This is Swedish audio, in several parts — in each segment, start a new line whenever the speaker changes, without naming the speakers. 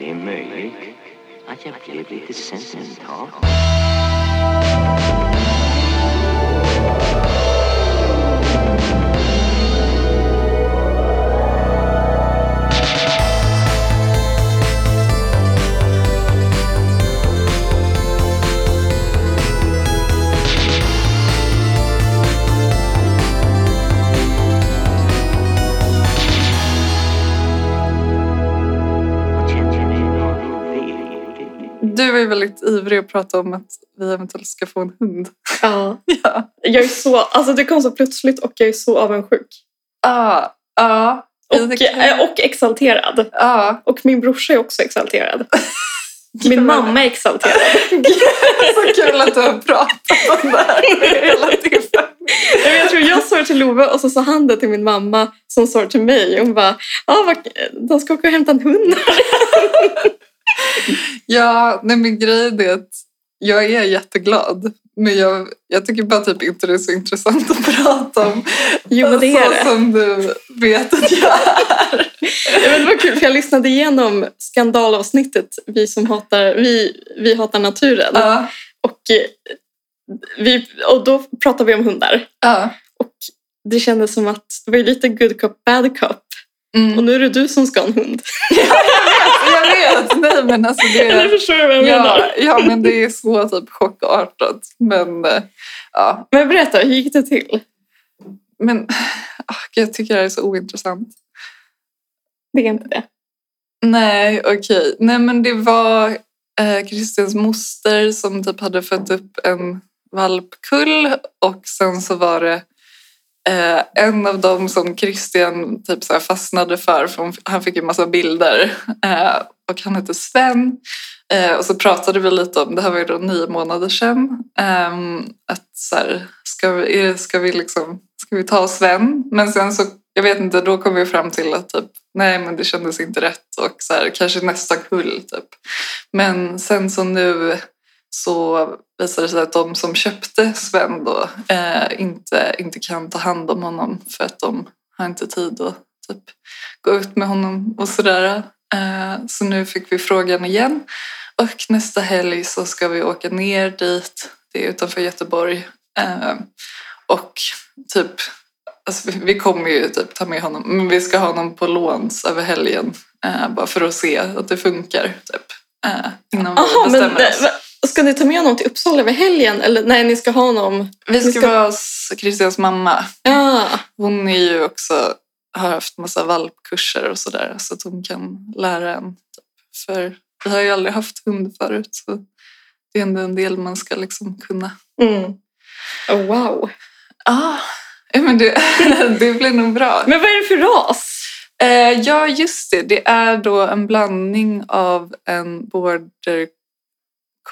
är möjligt att jag blev lite sentimental. Och kände mig en aning velig.
Du är väldigt ivrig att prata om att vi eventuellt ska få en hund.
Ja.
Ja.
Jag är så, alltså det kom så plötsligt och jag är så avundsjuk.
Ja. Ja.
Och, eh, och exalterad.
Ja.
Och min brorsa är också exalterad. Min mamma är exalterad.
Så kul att du har pratat om det här hela tiden.
Nej, men Jag tror jag sa det till Love och så sa han det till min mamma som sa det till mig. Hon bara, ah, vad, de ska åka och hämta en hund.
Ja, nej men grejen är att jag är jätteglad. Men jag, jag tycker bara typ inte det är så intressant att prata om.
Jo, men det är det.
Så som du vet att jag är.
Ja, men det var kul för jag lyssnade igenom skandalavsnittet Vi som hatar, vi, vi hatar naturen.
Ja,
Och, eh, vi, och då pratade vi om hundar.
ja.
Det kändes som att det var ju lite good cop, bad cop.
Mm.
Och nu är det du som ska ha en hund.
Jag vet, nej men alltså det
Eller
är...
förstår du vad jag
Ja,
menar?
ja, men det är så typ chockartat. Men eh, ja,
Men berätta, hur gick det till?
men ah, jag tycker det här är så ointressant.
Det är inte det.
Nej, okej. Nej, men det var eh, Christians moster som typ hade fött upp en valpkull och sen så var det eh, en av dem som Christian typ så här fastnade för, för hon- han fick ju massa bilder eh, och han hette Sven. Eh, och så pratade vi lite om, det här var ju då nio månader sedan, ehm, att så här, ska, vi, är det- ska, vi liksom, ska vi ta Sven? Men sen så, jag vet inte, då kom vi fram till att typ, nej men det kändes inte rätt och så här, kanske nästa kull typ. Men sen så nu så visade det sig att de som köpte Sven då eh, inte, inte kan ta hand om honom för att de har inte tid att typ, gå ut med honom och sådär. Eh, så nu fick vi frågan igen och nästa helg så ska vi åka ner dit, det är utanför Göteborg. Eh, och typ, alltså vi, vi kommer ju typ ta med honom, men vi ska ha honom på låns över helgen. Eh, bara för att se att det funkar, typ. Eh, innan
Jaha,
vi
men
bestämmer oss.
eh, va- ska ni ta med honom till Uppsala över helgen? Eller nej, ni ska ha honom...
Vi ska,
vi ska-
vara hos Christians mamma.
Ja,
Hon är ju också, har haft massa valpkurser och sådär så att hon kan lära en. Typ. För vi har ju aldrig haft hund förut så det är ändå en del man ska liksom kunna.
Mm. Oh, wow.
Ah, ja, men det, det blir nog bra.
Men vad är det för ras?
Eh, ja, just det. Det är då en blandning av en border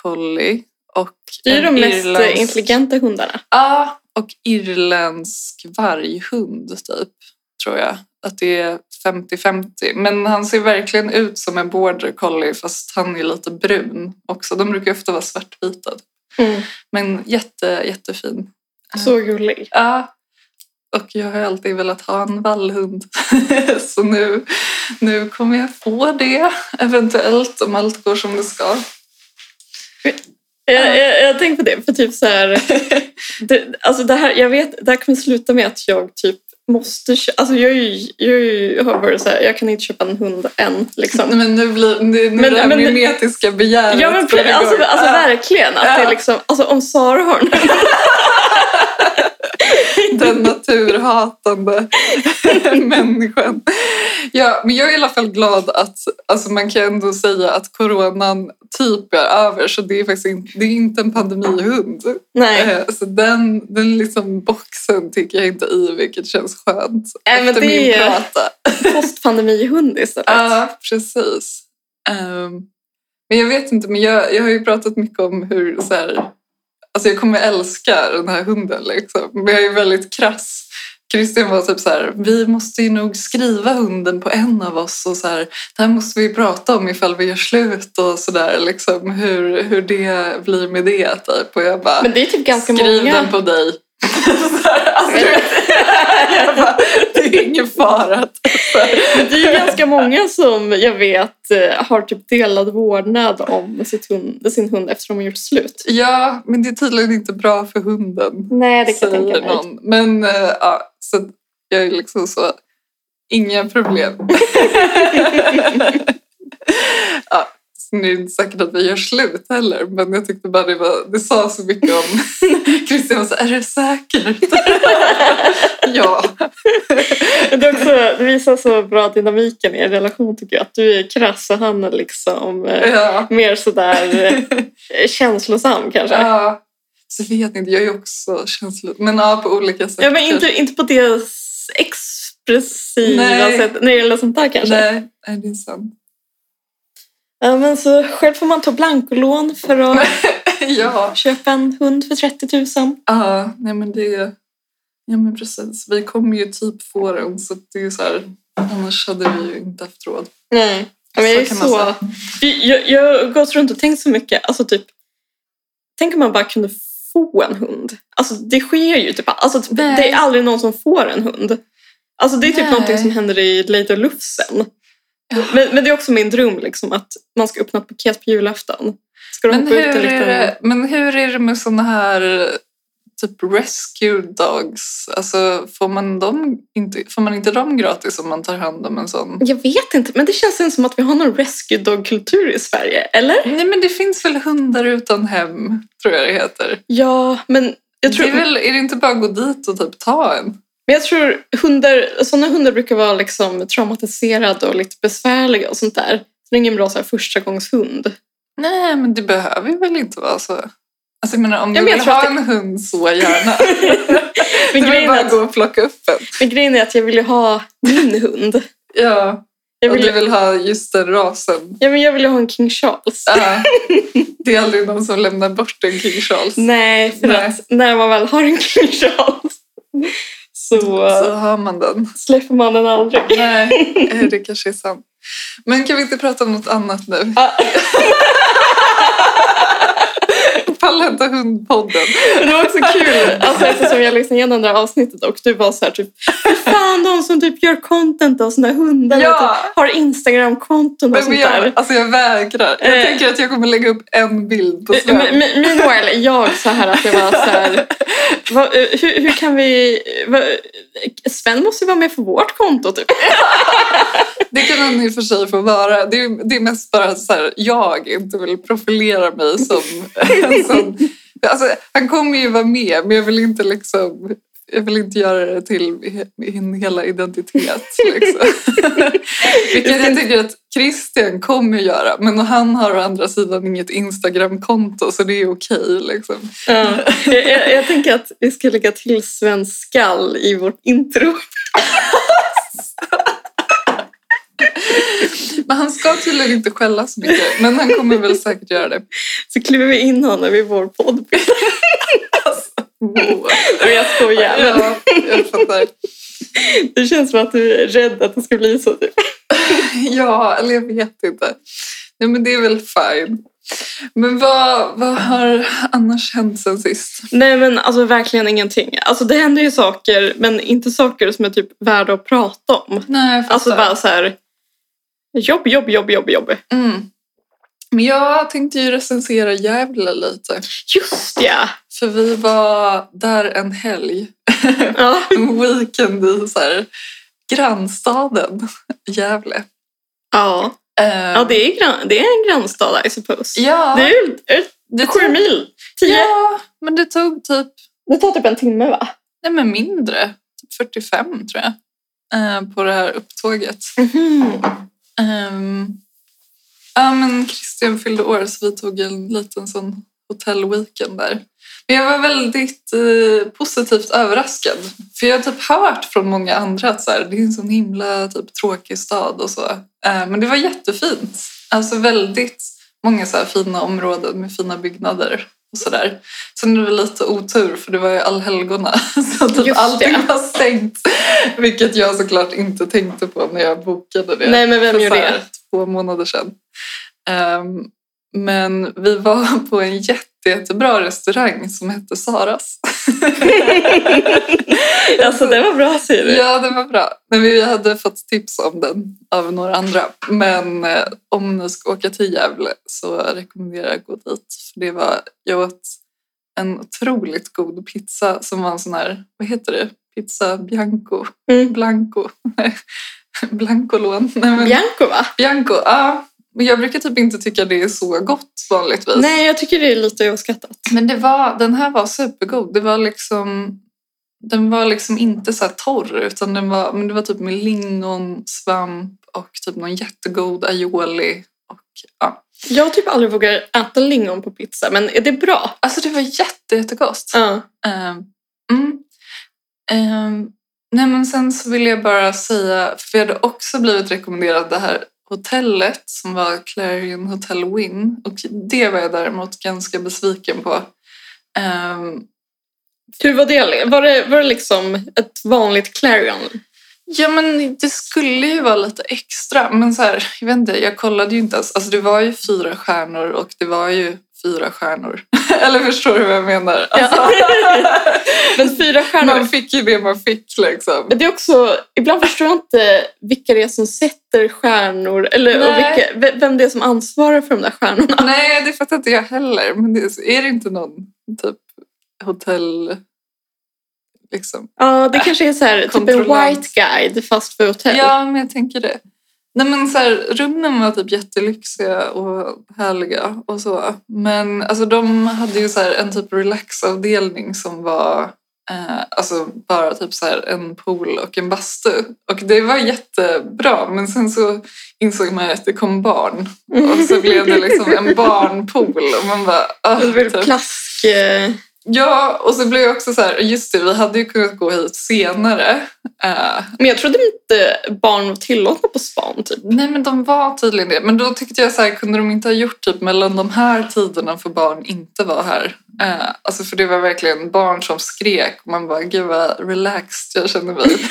collie och
Det är ju
en
de mest eh,
irländsk-
intelligenta hundarna.
Ja, och irländsk varghund typ, tror jag. Att det är 50-50. Men han ser verkligen ut som en border collie fast han är lite brun också. De brukar ju ofta vara svartvita.
Mm.
Men jätte, jättefin.
Så gullig.
Ja, och jag har ju alltid velat ha en vallhund. Så nu, nu kommer jag få det, eventuellt, om allt går som det ska.
Jag, jag, jag tänkte på det, för typ så här... Det, alltså det här, jag vet, det här kommer sluta med att jag typ måste kö- Alltså jag, är ju- jag, är ju- jag har varit så här, jag kan inte köpa en hund än. Liksom.
Men nu blir nu, nu
Men-
det här
men-
memetiska begäret
Ja, men,
går igång.
alltså, alltså
Ja.
verkligen. Att det är liksom, alltså, om Sara har en
den naturhatande människan. Ja, men jag är i alla fall glad att alltså man kan ändå säga att coronan typ är över så det är faktiskt inte, det är inte en pandemihund.
Nej,
Eh, Så den, den liksom boxen tycker jag inte i vilket känns skönt.
Nej, men
efter
det
min
är-
prata.
postpandemihund istället.
Ja, precis. Ehm, men jag vet inte, men jag, jag har ju pratat mycket om hur så här, alltså jag kommer älska den här hunden liksom. Men jag är väldigt krass. Christian var typ så här, vi måste ju nog skriva hunden på en av oss och så här, det här måste vi prata om ifall vi gör slut och sådär liksom hur, hur det blir med det typ. Och jag bara,
Men det är typ ganska
skriv
många.
den på dig. Så här, alltså, du vet, jag bara, det är ingen fara. att- så här.
Men det är ju ganska många som jag vet eh, har typ delad vårdnad om sitt hund, sin hund efter de har gjort slut.
Ja, men det är tydligen inte bra för hunden.
Nej, det kan jag
säger
tänka mig.
någon. Men eh, ja, så jag är liksom så, inga problem. ja, så nu är det inte säkert att vi gör slut heller, men jag tyckte bara det, var, det sa så mycket om Christian var så, är du säker? ja.
Det, är också, det visar så bra dynamiken i er relation tycker jag. Att du är krass och han är liksom eh,
ja.
mer sådär eh, känslosam kanske.
ja. Så vet inte, jag är ju också känslolös. Men ja, på olika sätt.
Ja, men inte, inte på det s- expressiva
Nej.
sättet när det gäller sånt där kanske.
Nej, nej, det är sant.
Ja, men så själv får man ta blankolån för att
ja.
köpa en hund för 30 000.
Ja, nej men det... Ja men precis. Vi kommer ju typ få den så att det är ju så här... Annars hade vi ju inte haft råd.
Nej. Men jag, är
Så kan man
så, jag, jag har gått runt och tänkt så mycket. Alltså typ, tänk om man bara kunde få en hund. Alltså det sker ju typ. Alltså, typ
Nej.
det är aldrig någon som får en hund. Alltså det är typ
Nej.
någonting som händer i Late och Lufsen. Men, men det är också min dröm liksom, att man ska öppna ett paket på julafton. Ska de
Men
få
hur,
ut en
är
liten...
det, men hur är det med såna här typ rescue dogs? Alltså får man, dem inte, får man inte dem gratis om man tar hand om en sån?
Jag vet inte, men det känns inte som att vi har någon rescue dog-kultur i Sverige. Eller?
Nej men det finns väl hundar utan hem, tror jag det heter.
Ja, men jag tror...
Det är, väl, är det inte bara att gå dit och typ ta en?
Men jag tror hundar, sådana hundar brukar vara liksom traumatiserade och lite besvärliga och sånt där. Så det är ingen bra så här, första gångs hund.
Nej, men det behöver ju väl inte vara så. Alltså jag menar, om
Ja,
du
men jag
vill
tror
ha
att
en hund så gärna. du
Men
vill
grejen,
bara
är att,
gå och plocka upp en.
men grejen är att jag vill ju ha min hund.
Ja,
Jag
och
vill,
du vill ha Alltså, just den rasen.
ja, men jag vill ju ha en King Charles.
Ja. det är aldrig någon som lämnar bort en King Charles.
Nej, för
Nej.
att när man väl har en King Charles så, eh,
Så har man den.
släpper man den aldrig.
Nej, eh, det kanske är sant. Men kan vi inte prata om något annat nu?
Ja.
Pallar inte hundpodden.
Men det var också kul, alltså, eftersom jag lyssnade igenom det här avsnittet och du var så här typ Fy fan de som typ gör content av sina hundar och
Ja.
typ har Instagram-konton och
Men
sånt
jag,
där.
alltså jag vägrar. Jag
Eh.
tänker att jag kommer lägga upp en bild på Sven.
Men- men- men- Meanwhile, jag så här att jag var så här, vad, eh, hur, hur kan vi... Vad, Sven måste ju vara med på vårt konto typ.
Det kan han i och för sig få vara. Det är, det är mest bara att så här, jag inte vill profilera mig som... en sån- alltså, han kommer ju vara med, men jag vill inte liksom... Jag vill inte göra det till he- min hela identitet. Liksom. Vilket jag tycker att Christian kommer göra. Men han har å andra sidan inget Instagram-konto så det är okej. Liksom.
Ja. Jag, jag, jag tänker att vi ska lägga till Svens skall i vårt intro.
Men han ska tydligen inte skälla så mycket. Men han kommer väl säkert göra det.
Så kliver vi in honom i vår podd.
Wow.
Men Jag skojar. Men
Ja, jag fattar.
det känns som att du är rädd att det ska bli så. Typ.
Ja, eller jag vet inte. Nej, men det är väl fine. Men vad, vad har annars hänt sen sist?
Nej men alltså verkligen ingenting. Alltså det händer ju saker men inte saker som är typ värda att prata om.
Nej, jag
Alltså
fattar.
bara så här jobb, jobb, jobb, jobb, jobb.
Mm. Men jag tänkte ju recensera Gävle lite.
Just ja!
För vi var där en helg.
ja.
En weekend i så här, grannstaden Gävle. Eh,
Ja. ja, det är, gran- det är en grannstad I suppose.
Ja,
Det är ju ett-
det
sju
tog,
mil, tio.
ja, men det tog typ
Det tar typ en timme va?
nej, men mindre. Typ 45 tror jag. eh, På det här upptåget.
Mhm.
Ehm, ja, men Christian fyllde år så vi tog en liten sån hotellweekend där. Men jag var väldigt eh, positivt överraskad. För jag har typ hört från många andra att så här, det är en sån himla typ, tråkig stad och så. Eh, men det var jättefint. Alltså väldigt många så här fina områden med fina byggnader och sådär. Sen var det lite otur för det var ju allhelgona så typ
Just
allting
det.
var stängt. Vilket jag såklart inte tänkte på när jag bokade det
Nej men vem
för
gör
så här
det?
två månader sedan. Ehm, men vi var på en jätte jätte, jättebra restaurang som hette Saras.
Alltså det var bra säger du.
Ja, den var bra. Men vi hade fått tips om den av några andra. Men eh, om ni ska åka till Gävle så rekommenderar jag att gå dit. För det var, jag åt en otroligt god pizza som var en sån här, vad heter det? Pizza bianco,
Mm.
blanco, blancolån. Nej, men,
Bianco va?
bianco, ja. Men jag brukar typ inte tycka det är så gott vanligtvis.
Nej, jag tycker det är lite oskattat.
Men det var, den här var supergod. Det var liksom, den var liksom inte så här torr, utan den var, men det var typ med lingon, svamp och typ någon jättegod aioli. Och, ja.
Jag har typ aldrig vågar äta lingon på pizza, men är det bra?
Alltså det var jätte, jättegott.
Ja.
Ehm, mm. Ehm, nej men sen så vill jag bara säga, för jag hade också blivit rekommenderad det här hotellet som var Clarion Hotel Win och det var jag däremot ganska besviken på. Ehm,
Hur var det? Var det, var det liksom ett vanligt Clarion?
Ja, men det skulle ju vara lite extra. Men så här, jag vet inte, jag kollade ju inte ens. Alltså det var ju fyra stjärnor och det var ju fyra stjärnor. Eller förstår du vad jag menar? Alltså,
Men fyra stjärnor.
man fick ju det man fick liksom.
Men det är också, ibland förstår jag inte vilka det är som sätter stjärnor eller och
Nej.
vilka, ve- vem det är som ansvarar för de där stjärnorna.
Nej, det fattar inte jag heller. Men det, är det inte någon typ hotell... Liksom.
Ja, det kanske är så här, typ en
Kontrollant.
white guide fast för hotell.
Ja, men jag tänker det. Nej, men så här, rummen var typ jättelyxiga och härliga och så. Men alltså, de hade ju så här, en typ relaxavdelning som var eh, alltså, bara typ så här, en pool och en bastu. Och det var jättebra, men sen så insåg man att det kom barn. Och så blev det liksom en barnpool och man bara... "Ah",
Det är väl
typ.
plask... eh,
Ja, och så blev jag också så här, just det, vi hade ju kunnat gå hit senare. Eh,
Men jag trodde inte barn var tillåtna på span typ.
Nej men de var tydligen det. Men då tyckte jag så här, kunde de inte ha gjort typ mellan de här tiderna för barn inte var här? Eh, alltså för det var verkligen barn som skrek och man bara gud vad relaxed jag känner mig.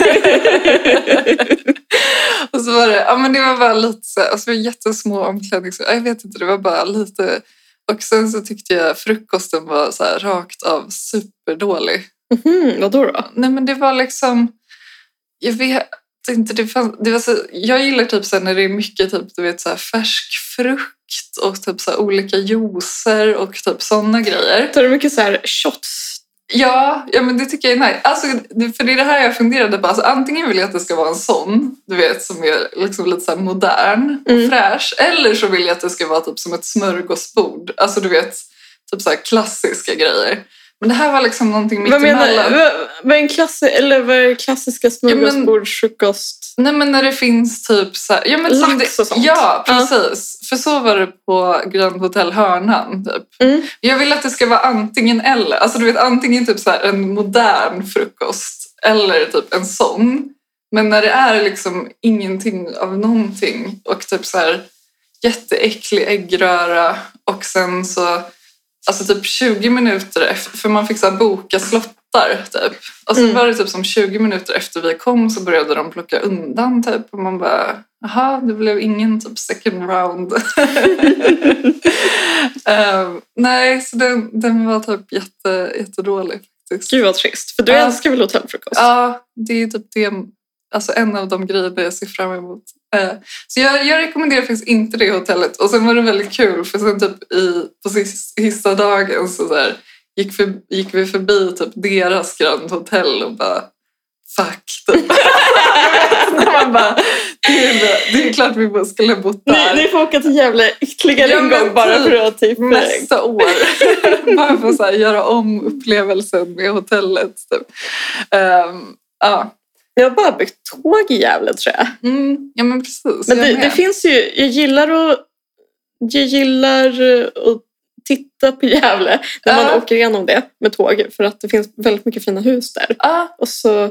och så var det, ja men det var bara lite så här, alltså det var jättesmå omklädnings... Jag vet inte, det var bara lite... Och sen så tyckte jag frukosten var så här, rakt av superdålig.
Mhm, vadå då?
Nej men det var liksom, jag vet inte, det fanns, det var så, jag gillar typ så här när det är mycket typ, du vet, så här färsk frukt och typ så här olika juicer och typ sådana grejer.
Tar du mycket så här shots?
Ja, ja men det tycker jag är nice. Alltså, det- för det är det här jag funderade på, alltså, antingen vill jag att det ska vara en sån, du vet som är liksom lite så här modern och
Mm.
fräsch, eller så vill jag att det ska vara typ som ett smörgåsbord, alltså du vet typ så här klassiska grejer. Men det här var liksom någonting mitt
Vad menar
emellan.
du? Vad- Vad är en klass, eller vad är klassiska smörgåsbordsfrukost?
Nej men när det finns typ så här, ja, men som
Lax
det,
och sånt.
Ja,
Ja.
precis. För så var det på Grand Hotel Hörnan. Typ.
Mm.
Jag vill att det ska vara antingen eller. Alltså du vet antingen typ så här, en modern frukost eller typ en sån. Men när det är liksom ingenting av någonting och typ så här jätteäcklig äggröra och sen så alltså typ 20 minuter efter, för man fick så här boka slottar typ. Och så
Mm.
var det typ som 20 minuter efter vi kom så började de plocka undan typ och man bara jaha, det blev ingen typ second round. Ehm, nej, så den, den var typ jätte, jättedålig faktiskt.
Gud vad trist, för du
Ja.
älskar väl hotellfrukost?
Ja, det är typ det, alltså en av de grejerna jag ser fram emot. Eh, Så jag, jag rekommenderar faktiskt inte det hotellet. Och sen var det väldigt kul för sen typ i, på sis- sista dagen så där, gick, för, gick vi förbi typ deras Grand Hotel och bara fuck. Typ. Man bara, det, är, ju- det är klart vi bara skulle ha bott där.
Ni, ni får åka till Gävle ytterligare
Ja,
en
men
gång bara
typ.
för att typ... eh,
Nästa år. Bara för att så här, göra om upplevelsen med hotellet. Typ. Ehm, ja.
Jag har bara byggt tåg i Gävle tror jag.
Mm, ja men precis.
Men
jag
det,
med.
det finns ju, jag gillar att, jag gillar eh, att titta på Gävle när man
Ja.
åker igenom det med tåg för att det finns väldigt mycket fina hus där.
ah,
Och så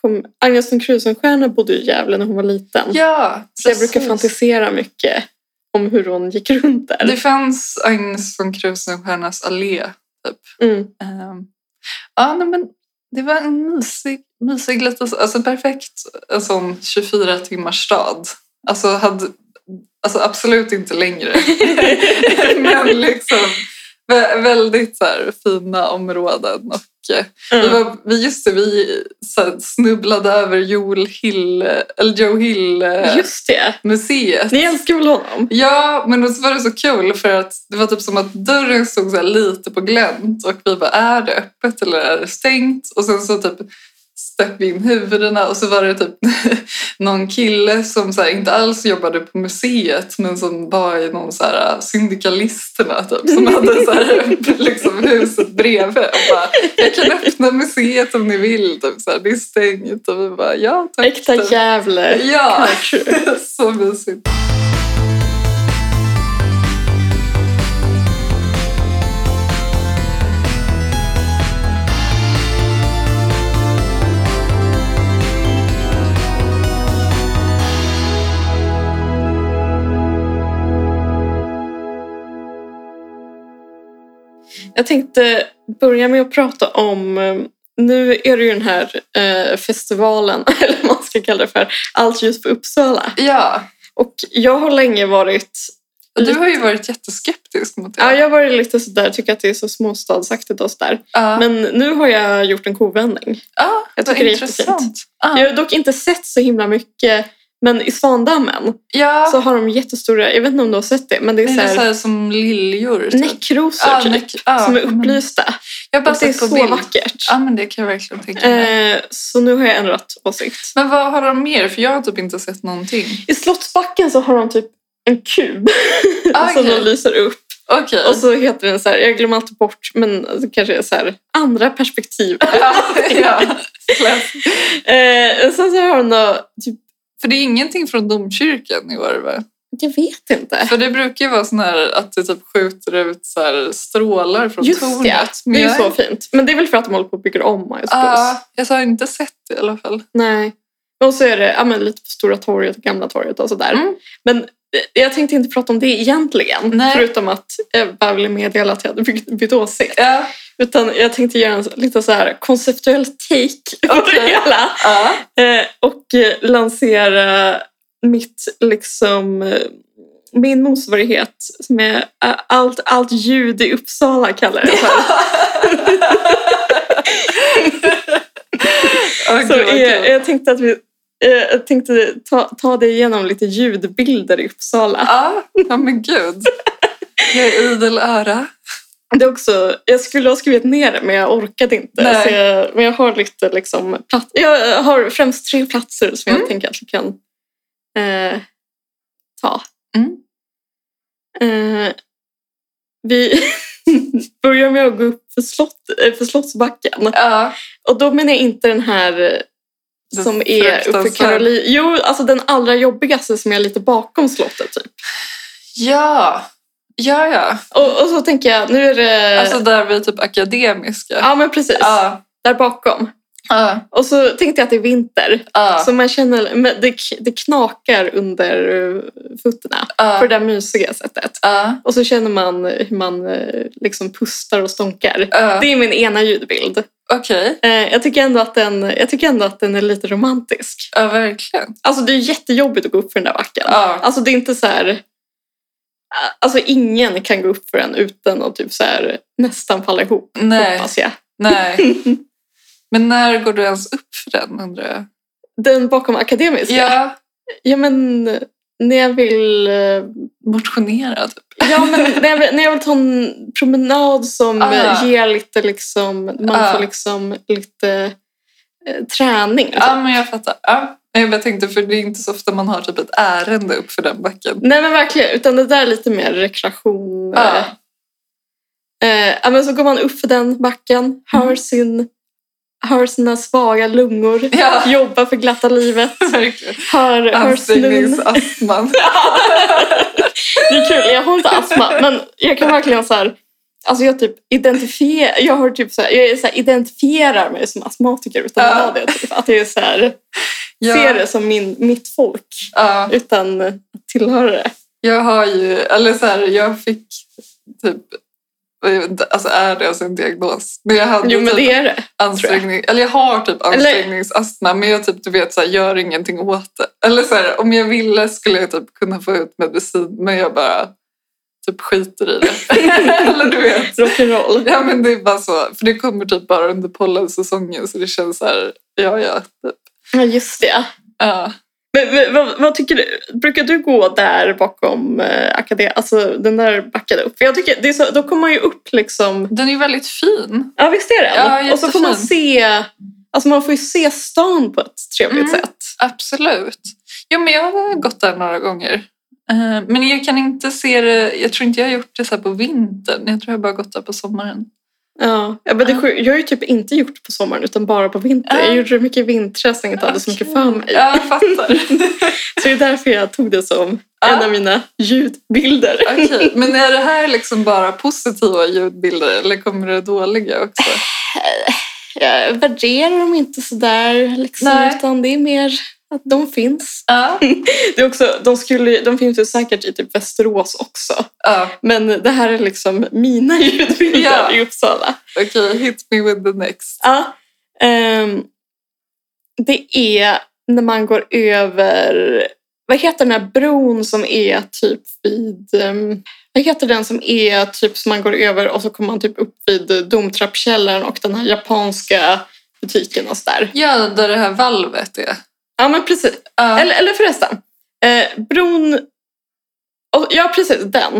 kom Agnes von Krusenstjerna bodde ju i Gävle när hon var liten.
ja,
så jag
precis.
brukar fantisera mycket om hur hon gick runt
Det
där.
fanns Agnes von Krusenstjernas allé.
Mm.
Ehm, ja, nej, men det var en mysig, mysig liten, alltså perfekt en sån 24 timmars stad. Alltså,
Mm.
hade, alltså absolut inte längre. men liksom Vä- väldigt så här, fina områden. Och, eh, vi
Mm.
var, vi, just det, vi så här, snubblade över Joel Hill, eh, eller Joe eh, Hill-museet.
Just det. Ni älskar väl honom?
Ja, men då så var det så kul för att det var typ som att dörren stod så här lite på glänt och vi bara är det öppet eller är det stängt? Och sen så typ stack vi in huvudena och så var det typ någon kille som så här inte alls jobbade på museet men som var i någon så här syndikalisterna typ som hade så här liksom huset bredvid och bara jag kan öppna museet om ni vill typ så här, det är stängt och vi bara ja tack.
Äkta
typ.
Gävle.
Ja,
Kanske.
så mysigt.
Jag tänkte börja med att prata om eh, nu är det ju den här eh, festivalen, eller vad man ska kalla det för, Allt ljus på Uppsala.
Ja,
Och jag har länge varit
och du har ju varit jätteskeptisk mot det.
Ja, jag har varit lite sådär, tycker att det är så småstadsaktigt och sådär.
Ja.
Men nu har jag gjort en kovändning.
Ja, vad
jag tycker det är
intressant.
jättefint.
Ja.
Jag har dock inte sett så himla mycket, men i Svandammen
Ja,
så har de jättestora, jag vet inte om du har sett det, men det är
det är så
såhär
här som liljor. typ.
näckrosor
Ja,
typ,
näck- ja,
som är
men-
upplysta.
Jag har bara
Och det är
sett på
så
bild.
vackert.
Ja, men det kan jag verkligen tänka mig.
Eh, så nu har jag ändrat åsikt.
Men vad har de mer? För jag har typ inte sett någonting.
I Slottsbacken så har de typ en kub
Ah,
som de
okej.
lyser upp.
Okej.
Och så heter den så här, jag glömmer alltid bort, men alltså, kanske är så här, andra perspektiv.
Ja, ja. Klass.
Eh, sen så har de då, typ,
För det är ingenting från domkyrkan i år, va?
jag vet inte.
För det brukar ju vara sån här att det typ skjuter ut så här strålar från
Just
tornet.
det,
Men
det är ju
jag-
så fint. Men det är väl för att de håller på och bygger om, I suppose.
Ja, jag har inte sett det i alla fall.
Nej. Och så är det ja, men lite på Stora torget och Gamla torget och sådär.
Mm.
Men eh, jag tänkte inte prata om det egentligen,
Nej.
förutom att jag bara ville meddela att jag hade bytt, bytt åsikt.
Ja.
Utan jag tänkte göra en så- lite så här konceptuell take på det
Okej.
hela.
Ja.
Eh, och eh, lansera mitt, liksom, eh, min motsvarighet som är eh, allt, allt ljud i Uppsala kallar jag det för.
Åh,
Så
gud, vad
eh,
kul.
jag tänkte att vi eh, jag tänkte ta, ta dig igenom lite ljudbilder i Uppsala.
Ja, ja men gud. Jag är idel öra.
Det är också, jag skulle ha skrivit ner det men jag orkade inte.
Nej.
Så jag, men jag har lite liksom, plats, jag har främst tre platser som
Mm.
jag tänker att vi kan eh, ta.
Mm.
Eh, vi börjar med att gå upp för, slott, eh, för Slottsbacken.
Ja,
Och då menar jag inte den här eh,
Den
som är uppe i
fruktansvärda.
Karolin. Jo, alltså den allra jobbigaste som är lite bakom slottet. Typ.
ja, ja. ja.
Och, och så tänker jag, nu är det...
Alltså där vi är typ akademiska.
Eh. ja, men precis.
Ja,
Där bakom.
ja,
Och så tänkte jag att det är vinter.
ja.
Så man känner, men det, det knakar under eh, fötterna på
ja,
det där mysiga sättet.
ja,
Och så känner man hur man eh, liksom pustar och stånkar.
ja.
Det är min ena ljudbild.
Okej,
Eh, Jag tycker, ändå att den, jag tycker ändå att den är lite romantisk.
ja verkligen.
Alltså det är jättejobbigt att gå upp för den där backen.
Ja,
Alltså det är inte så här... Alltså ingen kan gå upp för den utan att typ så här nästan falla ihop,
nej,
hoppas jag.
nej. Men när går du ens upp för den undrar jag?
Den bakom akademiska?
Ja,
ja men när jag vill... eh,
motionera typ.
Ja, men när jag vill, när jag vill ta en promenad som
Ah.
eh, ger lite liksom... Man
Ah.
får liksom lite eh, träning. liksom.
Ja, men jag fattar. Ja. Nej, Jag bara tänkte, för det är inte så ofta man har typ ett ärende upp för den backen.
Nej men verkligen, utan det där är lite mer rekreation.
Ja.
Eh, ja, men så går man upp för den backen, hör,
Mm.
sin, hör sina svaga lungor,
Ja. Alltså,
jobbar för glatta livet,
Verkligen.
hör, hör snun.
Ansträngningsastman.
Det är kul, jag har inte astma, men jag kan verkligen så här, alltså jag typ identifierar, jag har typ så här, jag är så här, identifierar mig som astmatiker utan att
Ja.
vara det. Typ. Att jag är så här,
Ja.
ser det som min, mitt folk
Ja.
utan att tillhöra det.
Jag har ju, eller så här, jag fick typ, jag vet inte, alltså är det alltså en diagnos? Men jag hade
Jo men
typ
det är det.
ansträngning, eller jag har typ ansträngningsastma men jag typ du vet så här, gör ingenting åt det. Eller så här, om jag ville skulle jag typ kunna få ut medicin men jag bara typ skiter i det. Eller du vet.
Rock'n'roll.
Ja men det är bara så. För det kommer typ bara under pollensäsongen så det känns så här, ja ja. Typ.
Ja, just det.
Ja.
Men, men, vad, vad tycker du? Brukar du gå där bakom eh, akadem... Alltså den där backade upp? För jag tycker det är så, då kommer man ju upp liksom...
Den är ju väldigt fin.
Ja, visst är den?
Ja,
Och så får man
jättefin.
se... Alltså man får ju se stan på ett trevligt
Mm.
sätt.
Absolut. Jo men jag har gått där några gånger. Eh, Men jag kan inte se det, jag tror inte jag har gjort det så här på vintern. Jag tror jag bara gått där på sommaren.
Ja, ja, men det, är
Ja.
sjukt. jag har ju typ inte gjort på sommaren utan bara på vintern.
Ja.
Jag gjorde det mycket i vintras när jag inte hade så mycket för mig.
Ja, jag fattar.
Så det är därför jag tog det som
Ja.
en av mina ljudbilder.
Okej, Men är det här liksom bara positiva ljudbilder eller kommer det dåliga också?
Jag värderar dem inte sådär liksom,
Nej.
utan det är mer att de finns.
Ja,
Det är också, de, skulle, de finns ju säkert i typ Västerås också.
ja
Men det här är liksom mina ljudbilder
Ja.
i Uppsala.
okej. Hit me with the next.
Ja, ehm, det är när man går över... Vad heter den här bron som är typ vid... ehm, vad heter den som är typ som man går över och så kommer man typ upp vid Domtrappkällaren och den här japanska butiken och sådär.
Ja, där det här valvet är.
Ja, men precis.
Ja.
Eller, eller förresten, eh, bron... och- Ja, precis. Den.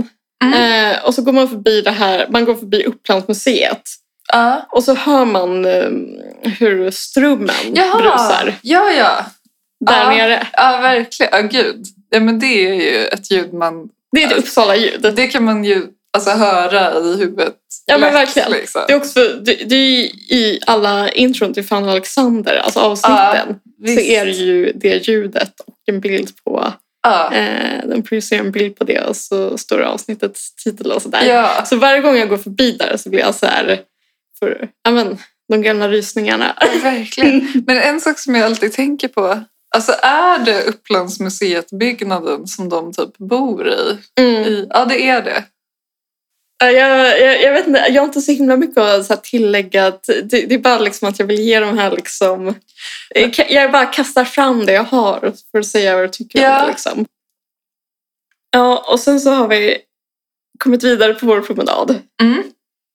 Eh, och så går man förbi det här, man går förbi Upplandsmuseet.
Ja.
Och så hör man eh, hur strömmen
Jaha.
brusar
Ja, ja.
där
Ja.
nere.
Ja, verkligen. Ja, gud. Ja, men det är ju ett ljud man...
Det är ett Uppsala-ljud.
Det kan man ju alltså, höra i huvudet.
Ja, men
lätt,
verkligen.
liksom.
Det är, också, det, det är ju i alla intron till Fanny och Alexander, alltså avsnitten, så
Visst.
är det ju det ljudet och en bild på...
Ja.
Eh, de producerar en bild på det och så står det avsnittets titel och sådär.
ja.
Så varje gång jag går förbi där så blir jag så här... För, ja, men, de gamla rysningarna.
Ja, alltså, verkligen. Men en sak som jag alltid tänker på. Alltså är det Upplandsmuseet-byggnaden som de typ bor i?
Mm.
I- Ja, det är det.
Ja, Jag, jag, jag vet inte, jag har inte så himla mycket att så här tillägga. Att Det, det är bara liksom att jag vill ge de här liksom... eh, ka- Jag bara kastar fram det jag har för att säga vad jag tycker om
Ja.
det. Liksom. Ja, och sen så har vi kommit vidare på vår promenad.
Mm.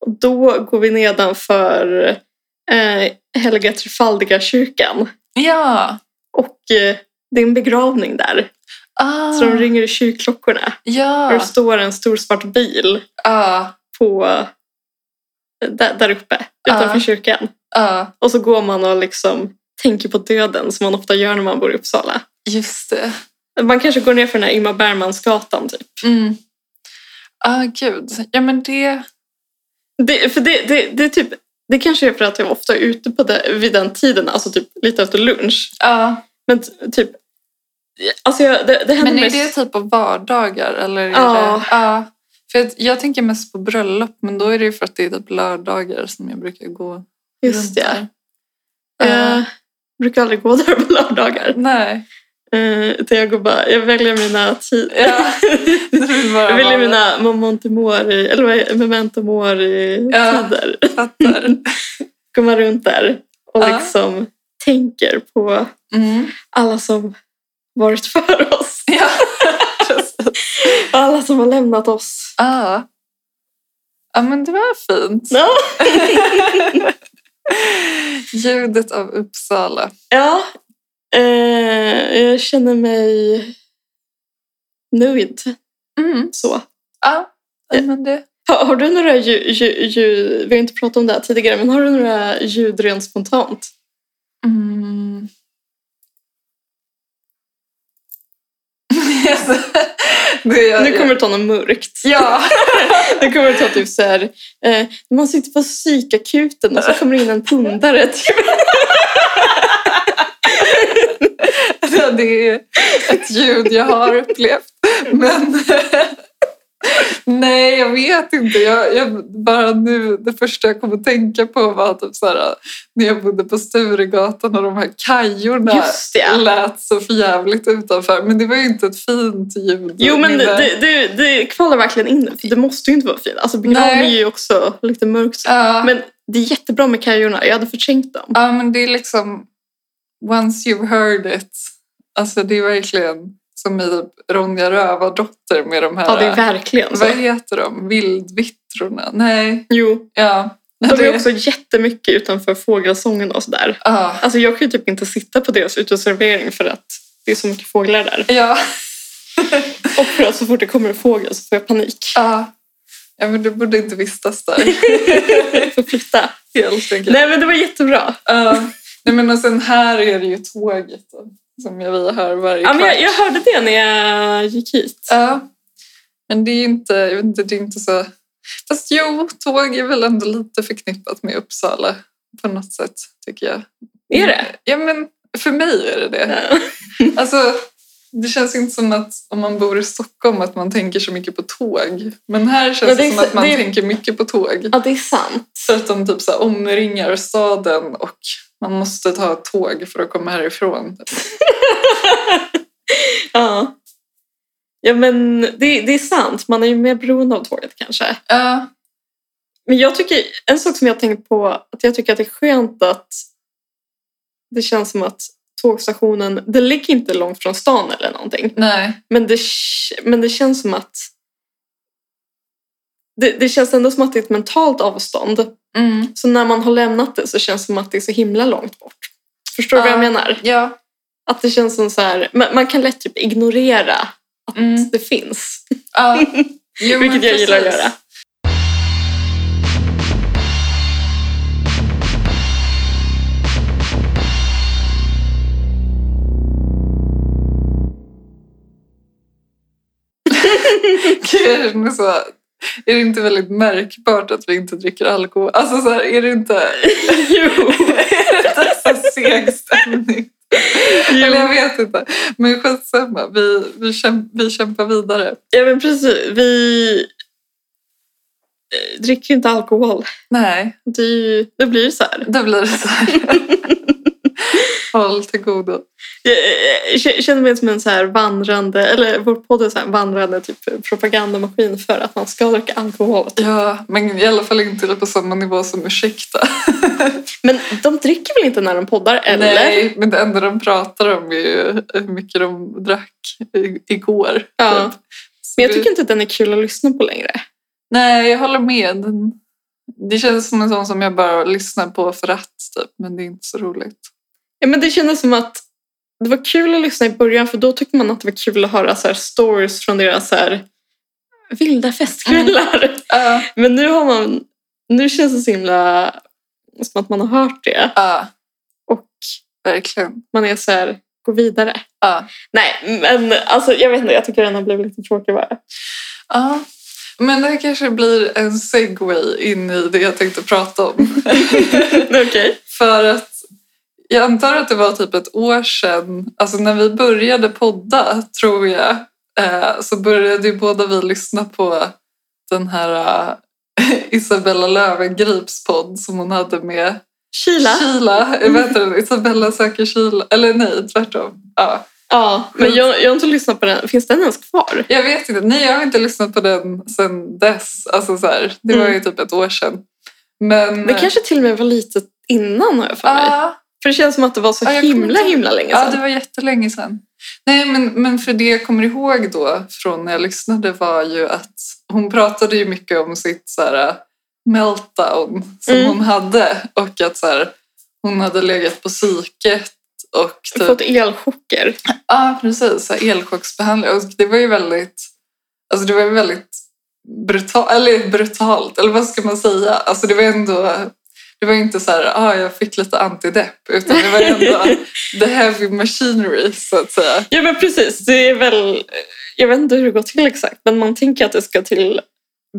Och då går vi nedanför eh, Helga Trefaldiga kyrkan
Ja.
Och eh, det är en begravning där.
Ah.
Så de ringer i kyrkklockorna. Och
Ja.
det står en stor svart bil
Ja.
på eh, där, där uppe utanför
Ja.
kyrkan.
Ja.
Och så går man och liksom tänker på döden som man ofta gör när man bor i Uppsala.
Just det.
Man kanske går ner för den här Ingmar Bergmansgatan typ.
Mm. Ah, gud. Ja, men det...
Det, för det, det, det, är typ, det kanske är för att jag ofta är ute på det, vid den tiden, alltså typ lite efter lunch.
Ja.
Men t- typ, alltså jag, det, det händer
Men är
mest-
det typ på vardagar? Eller är
Ja.
det, ja. För att jag tänker mest på bröllop, men då är det ju för att det är typ lördagar som jag brukar gå
Just det.
där. Ja.
Jag brukar aldrig gå där på lördagar.
Nej.
Eh, Utan jag går bara, jag väljer mina tider.
Ja. Du vill bara
Jag vill ju
vara-
mina Memento Mori, eller vad är Memento Mori-tider.
Fattar.
Går man runt där och
Ja.
liksom tänker på
Mm.
alla som varit för oss.
Ja.
Och alla som har lämnat oss.
Ah. Ja, men det var fint.
Ja.
Ljudet av Uppsala.
ja. Eh, jag känner mig nöjd
Mm.
så.
Ja. Ja, men det...
Har, har du några ljud, ljud, vi har inte pratat om det här tidigare, men har du några ljud rent spontant?
Mm. Alltså, det är,
Nu kommer du ta något mörkt.
Ja.
Det kommer ta typ så här, eh, när man sitter på psykakuten och så kommer det in en pundare. Typ.
Ja, det är ett ljud jag har upplevt. Men nej, jag vet inte. Jag, jag, bara nu, det första jag kom att tänka på var typ så här, när jag bodde på Sturegatan och de här kajorna
Just det.
lät så förjävligt utanför. Men det var ju inte ett fint ljud.
Jo men
Mina-
det, det, det, det kvalar verkligen in. För det måste ju inte vara fint. Alltså begravning är
Nej.
ju också lite mörkt.
Ja.
Men det är jättebra med kajorna. Jag hade förträngt dem.
Ja, men det är liksom once you've heard it. Alltså det är verkligen som i Ronja Rövardotter med de här...
Ja, det är verkligen så.
vad heter de? Vildvittrorna? Nej,
Jo,
ja.
de
det-
är också jättemycket utanför fågelsången och sådär.
ja.
Alltså jag kan ju typ inte sitta på deras uteservering för att det är så mycket fåglar där.
Ja,
Och för att så fort det kommer en fågel så får jag panik.
ja. ja, men du borde inte vistas där
Jag får flytta.
helt enkelt.
Nej men det var jättebra.
Ja. nej, men och sen här är det ju tåget då, som jag- vi hör varje
Ja, men
kvart.
jag, jag hörde det när jag gick hit.
Ja. Men det är ju inte, jag vet inte, det är inte så... Fast jo, tåg är väl ändå lite förknippat med Uppsala på något sätt, tycker jag.
Är det?
Ja, men för mig är det det.
Ja.
Alltså, det känns inte som att om man bor i Stockholm att man tänker så mycket på tåg. Men här känns
Men
det,
det är
som
så-
att man
det är-
tänker mycket på tåg.
Ja, det är sant.
För att de typ så här omringar staden och man måste ta ett tåg för att komma härifrån.
Ja. Ja, men det, det är sant. Man är ju mer beroende av tåget kanske.
Ja,
Men jag tycker, en sak som jag har tänkt på, att jag tycker att det är skönt att det känns som att tågstationen, den ligger inte långt från stan eller någonting.
nej.
Men det, k- men det känns som att det, det känns ändå som att det är ett mentalt avstånd.
Mm.
Så när man har lämnat det så känns det som att det är så himla långt bort. Förstår du vad jag
Ja.
menar?
Ja.
Att det känns som så här, man, man kan lätt typ ignorera
Mm.
att det finns.
Ja. Jo, men
Vilket jag gillar att
precis.
göra.
Jag känner så, är det inte väldigt märkbart att vi inte dricker alkohol? Alltså så här, är det inte,
jo,
är det inte så seg stämning? Eller jag
jo.
vet inte. Men skitsamma, vi, vi, käm, vi kämpar vidare.
Ja, men precis. Vi eh, dricker ju inte alkohol.
Nej,
Det, är ju, det blir ju så här.
då blir det så här. Håll till godo.
Jag, eh, k- känner mig som en så här vandrande, eller vår podd är så här en vandrande typ propagandamaskin för att man ska dricka alkohol.
Ja, men i alla fall inte på samma nivå som ursäkta.
Men de dricker väl inte när de poddar? Eller?
Nej, men det enda de pratar om är ju hur mycket de drack i- igår.
Ja.
typ. Så
Men jag
det-
tycker inte att den är kul att lyssna på längre.
Nej, jag håller med. Den- Det känns som en sån som jag bara lyssnar på för att, typ. men det är inte så roligt.
Ja, men det kändes som att det var kul att lyssna i början för då tyckte man att det var kul att höra så här stories från deras så här vilda festkvällar.
Ja,
Men nu har man, nu känns det så himla som att man har hört det.
ja,
Och
verkligen.
man är så här, gå vidare.
Ja.
Nej, men alltså jag vet inte, jag tycker den har blivit lite tråkig bara.
Ja. Men det här kanske blir en segway in i det jag tänkte prata om.
Okej.
För att jag antar att det var typ ett år sedan, alltså när vi började podda tror jag, eh, så började ju båda vi lyssna på den här eh, Isabella Löwengrips podd som hon hade med
Kila.
Kila. eh, Vad heter den? Isabella söker Kila. Eller nej, tvärtom. Ja.
Ja, men jag, jag har inte lyssnat på den. Finns den ens kvar?
Jag vet inte. Nej, jag har inte lyssnat på den sedan dess. Alltså så här, det var ju typ ett år sedan. Men...
Det kanske till och med var lite innan har jag för mig.
Ja,
För det känns som att det var så
Ja, jag kommer
himla
inte-
himla länge
ja,
sedan.
det var jättelänge sedan. Nej, men, men för det jag kommer ihåg då från när jag lyssnade var ju att hon pratade ju mycket om sitt så här, äh, meltdown som
Mm.
hon hade och att så här, hon hade legat på psyket och typ,
Fått elchocker.
Ja, precis. Så här, elchocksbehandling. Och det var ju väldigt, alltså det var ju väldigt brutal, eller brutalt, eller vad ska man säga? Alltså det var ändå, det var ju inte så här, ah, jag fick lite antidepp, utan det var ändå the heavy machinery så att säga.
Ja men precis, det är väl... Jag vet inte hur det går till exakt men man tänker att det ska till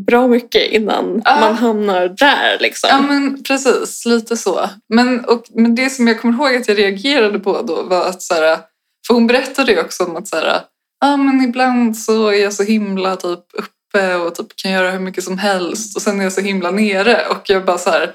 bra mycket innan
Ja.
man hamnar där liksom.
Ja, men precis. Lite så. Men, och, men det som jag kommer ihåg att jag reagerade på då var att så här, för hon berättade ju också om att så här, ah, men ibland så är jag så himla typ uppe och typ kan göra hur mycket som helst och sen är jag så himla nere och jag bara så här,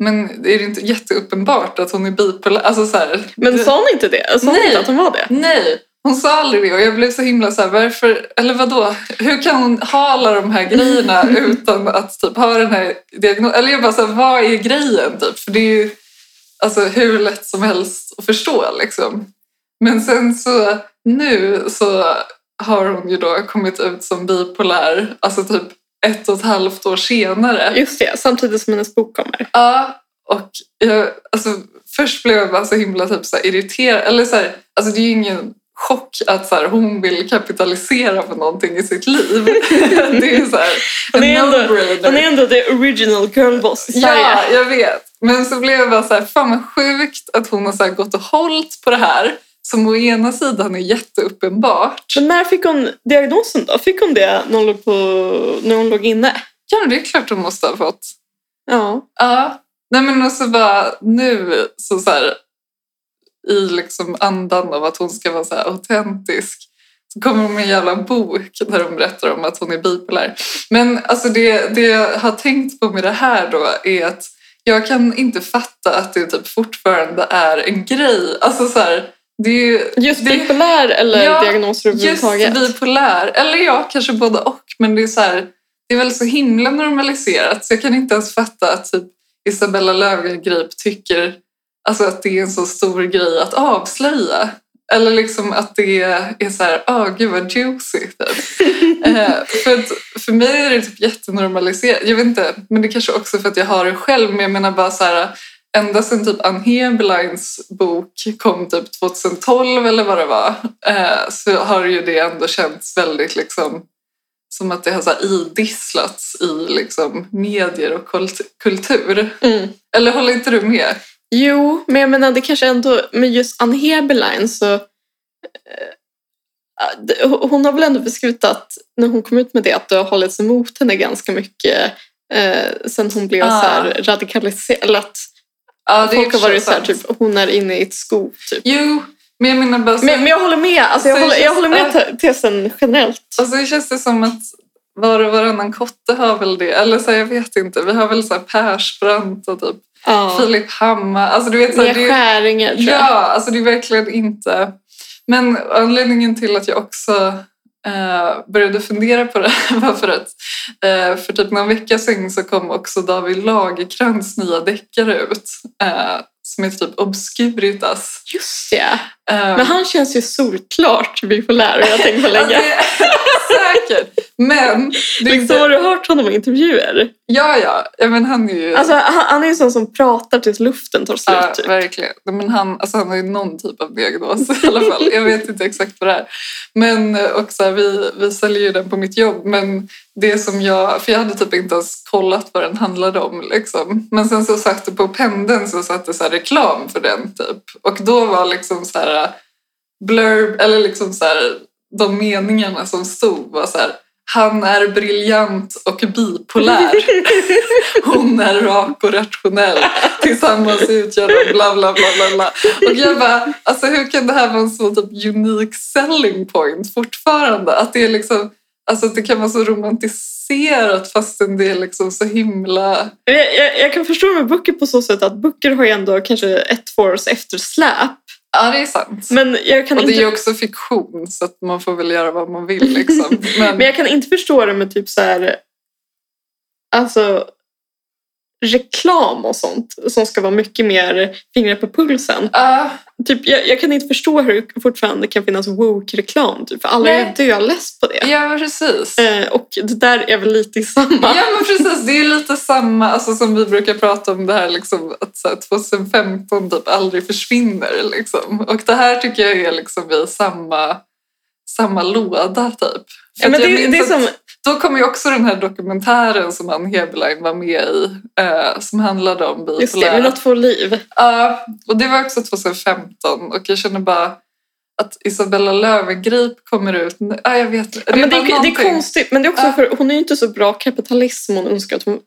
men är det inte jätteuppenbart att hon är bipolär? Alltså så här,
men
det-
sa hon inte det? Sa hon
Nej.
inte att hon var det?
Nej, hon sa aldrig det och jag blev så himla så här, varför, eller vadå, hur kan hon ha alla de här grejerna utan att typ ha den här diagnosen? Eller jag bara så här, vad är grejen typ? För det är ju alltså, hur lätt som helst att förstå liksom. Men sen så nu så har hon ju då kommit ut som bipolär, alltså typ ett och ett halvt år senare.
Just det, samtidigt som hennes bok kommer.
Ja, och jag, alltså, först blev jag bara så himla typ, så här, irriterad. Eller, så här, alltså, det är ju ingen chock att så här, hon vill kapitalisera på någonting i sitt liv. det är så här,
Hon är
en
ändå- Hon är
no-brainer.
ändå the original girlboss i Sverige.
Ja, jag vet. Men så blev jag bara så här, fan vad sjukt att hon har så här, gått och hållit på det här som å ena sidan är jätteuppenbart.
Men när fick hon diagnosen då? Fick hon det när hon låg, på, när hon låg inne?
Ja, det är klart hon måste ha fått.
Ja.
Ja, nej men och så bara nu så, så här, i liksom andan av att hon ska vara så här autentisk så kommer hon med en jävla bok där hon berättar om att hon är bipolär. Men alltså det, det jag har tänkt på med det här då är att jag kan inte fatta att det typ fortfarande är en grej. Alltså så här, det är ju
Just
Det-
bipolär eller
Ja,
diagnoser
Just
överhuvudtaget?
bipolär. Eller ja, kanske både och. Men det är så här, det är väl så himla normaliserat så jag kan inte ens fatta att typ Isabella Löwengrip tycker alltså, att det är en så stor grej att avslöja. Eller liksom att det är så här, åh gud vad juicy. Typ. eh, för, att, för mig är det typ jättenormaliserat. Jag vet inte, men det kanske också för att jag har det själv. Men jag menar bara så här, ända sedan typ Ann Heberleins bok kom typ 2012 eller vad det var eh, så har ju det ändå känts väldigt liksom som att det har så här idisslats i liksom medier och kult- kultur.
Mm.
Eller håller inte du med?
Jo, men jag menar det kanske ändå, med just Ann Heberlein så... eh, det- Hon har väl ändå beskrivit att när hon kom ut med det att det har hållits emot henne ganska mycket eh, sen hon blev
Ah.
så här radikaliserad. eller att
Ja,
Folk har
är
varit så här,
sant.
typ, hon är inne i ett skov. Typ.
Jo, men jag menar bara så
Men, men jag håller med, alltså, jag,
Så
håller,
det
jag
känns-
håller med
ja.
te- tesen generellt.
Och så känns det som att var och varannan kotte har väl det. Eller så här, jag vet inte. Vi har väl så här Persbrandt och typ
Ja.
Filip Hammar. Alltså du vet så här,
Mia
det är ju-
Skäringer tror jag.
Ja, alltså det är verkligen inte... Men anledningen till att jag också eh, började fundera på det här var för att eh, för typ någon vecka sedan så kom också David Lagercrantz nya deckare ut eh, som heter typ Obscuritas.
Just det.
Eh,
Men han känns ju solklart bipolär och jag tänker på
ja,
länge.
det- Säkert, men... Det är
Liksom,
inte,
har du hört honom i intervjuer?
ja, ja, ja, men han är ju...
Alltså, han, han är ju sån som pratar tills luften tar slut.
Ja,
typ.
verkligen. Nej, Men han, alltså han har ju någon typ av diagnos i alla fall. Jag vet inte exakt vad det är. Men eh, och så här, vi, vi säljer ju den på mitt jobb. Men det som jag, för jag hade typ inte ens kollat vad den handlade om. Liksom. Men sen så satt det på pendeln så satt det så här reklam för den typ. Och då var liksom så här blurb, eller liksom så här, de meningarna som stod var så här. Han är briljant och bipolär. Hon är rak och rationell. Tillsammans utgör de bla bla bla bla bla. Och jag bara, alltså hur kan det här vara en så typ unik selling point fortfarande? Att det är liksom, alltså att det kan vara så romantiserat fastän det är liksom så himla...
Jag, jag, jag kan förstå med böcker på så sätt att böcker har ju ändå kanske ett, två års eftersläp.
Ja, det är sant.
Men jag kan
Och det är
inte
ju också fiktion så att man får väl göra vad man vill liksom. Men,
Men jag kan inte förstå det med typ så här... Alltså reklam och sånt som ska vara mycket mer fingrar på pulsen.
Ja,
Typ, jag, jag kan inte förstå hur det fortfarande kan finnas woke-reklam. Typ, för alla
Nej.
är döless på det.
ja, precis.
Eh, och det där är väl lite i samma.
Ja men precis, det är ju lite samma alltså, som vi brukar prata om det här liksom, att så här, 2015 typ aldrig försvinner. Liksom. Och det här tycker jag är liksom i samma, samma låda typ. För
Ja,
att
men
jag
det,
minns
det är
att-
som,
Då kom ju också den här dokumentären som Ann Heberlein var med i eh, som handlade om
just det, men
bipolär.
att få liv.
Ja, och det var också 2015 och jag känner bara att Isabella Löwengrip kommer ut... nu- Ja, jag vet inte.
Ja, men det,
bara
är, det är
någonting.
konstigt, men det är också
Ja.
för hon är ju inte så bra kapitalism hon önskar att hon...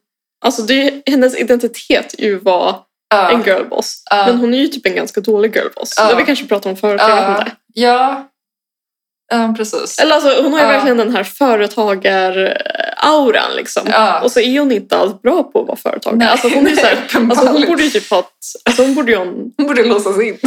Alltså det är, hennes identitet är ju var
Ja.
en girlboss.
Ja.
Men hon är ju typ en ganska dålig girlboss.
Ja.
Det har vi kanske pratat om förut, jag
Ja.
vet inte.
Ja. Ja, precis.
Eller alltså, hon har ju
Ja.
verkligen den här företagar-auran liksom.
Ja.
Och så är hon inte alls bra på att vara företagare.
Nej,
Alltså, hon, är ju så här, alltså, hon borde ju typ ha ett, alltså, hon borde ju ha en...
hon borde låsas in.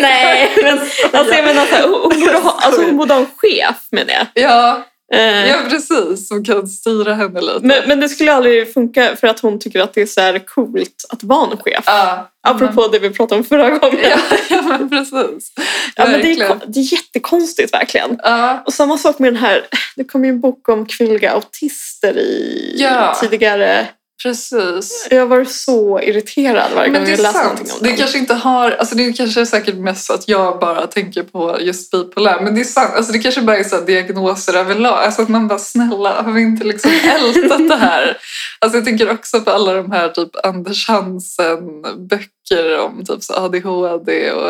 Nej, men alltså, jag menar så här, hon, hon, borde ha, alltså, hon borde ha en chef med det.
Ja,
Eh,
Ja, precis. Som kan styra henne lite.
men, men det skulle aldrig funka för att hon tycker att det är så här coolt att vara en chef.
ja.
Apropå det vi pratade om förra gången.
Ja, ja, men precis.
Ja, men det, är,
Verkligen.
kon- det är jättekonstigt verkligen.
Ja,
Och samma sak med den här, det kom ju en bok om kvinnliga autister i
Ja.
tidigare.
precis.
Jag var så irriterad varje
Men
gång
det är
jag läste någonting
sant.
om
Det
den.
kanske inte har... Alltså det kanske är säkert mest att jag bara tänker på just bipolär. Men det är sant. Alltså det kanske bara är så här diagnoser överlag. Alltså att man bara, snälla, har vi inte liksom ältat det här? Alltså jag tänker också på alla de här typ Anders Hansen-böcker om typ så ADHD och...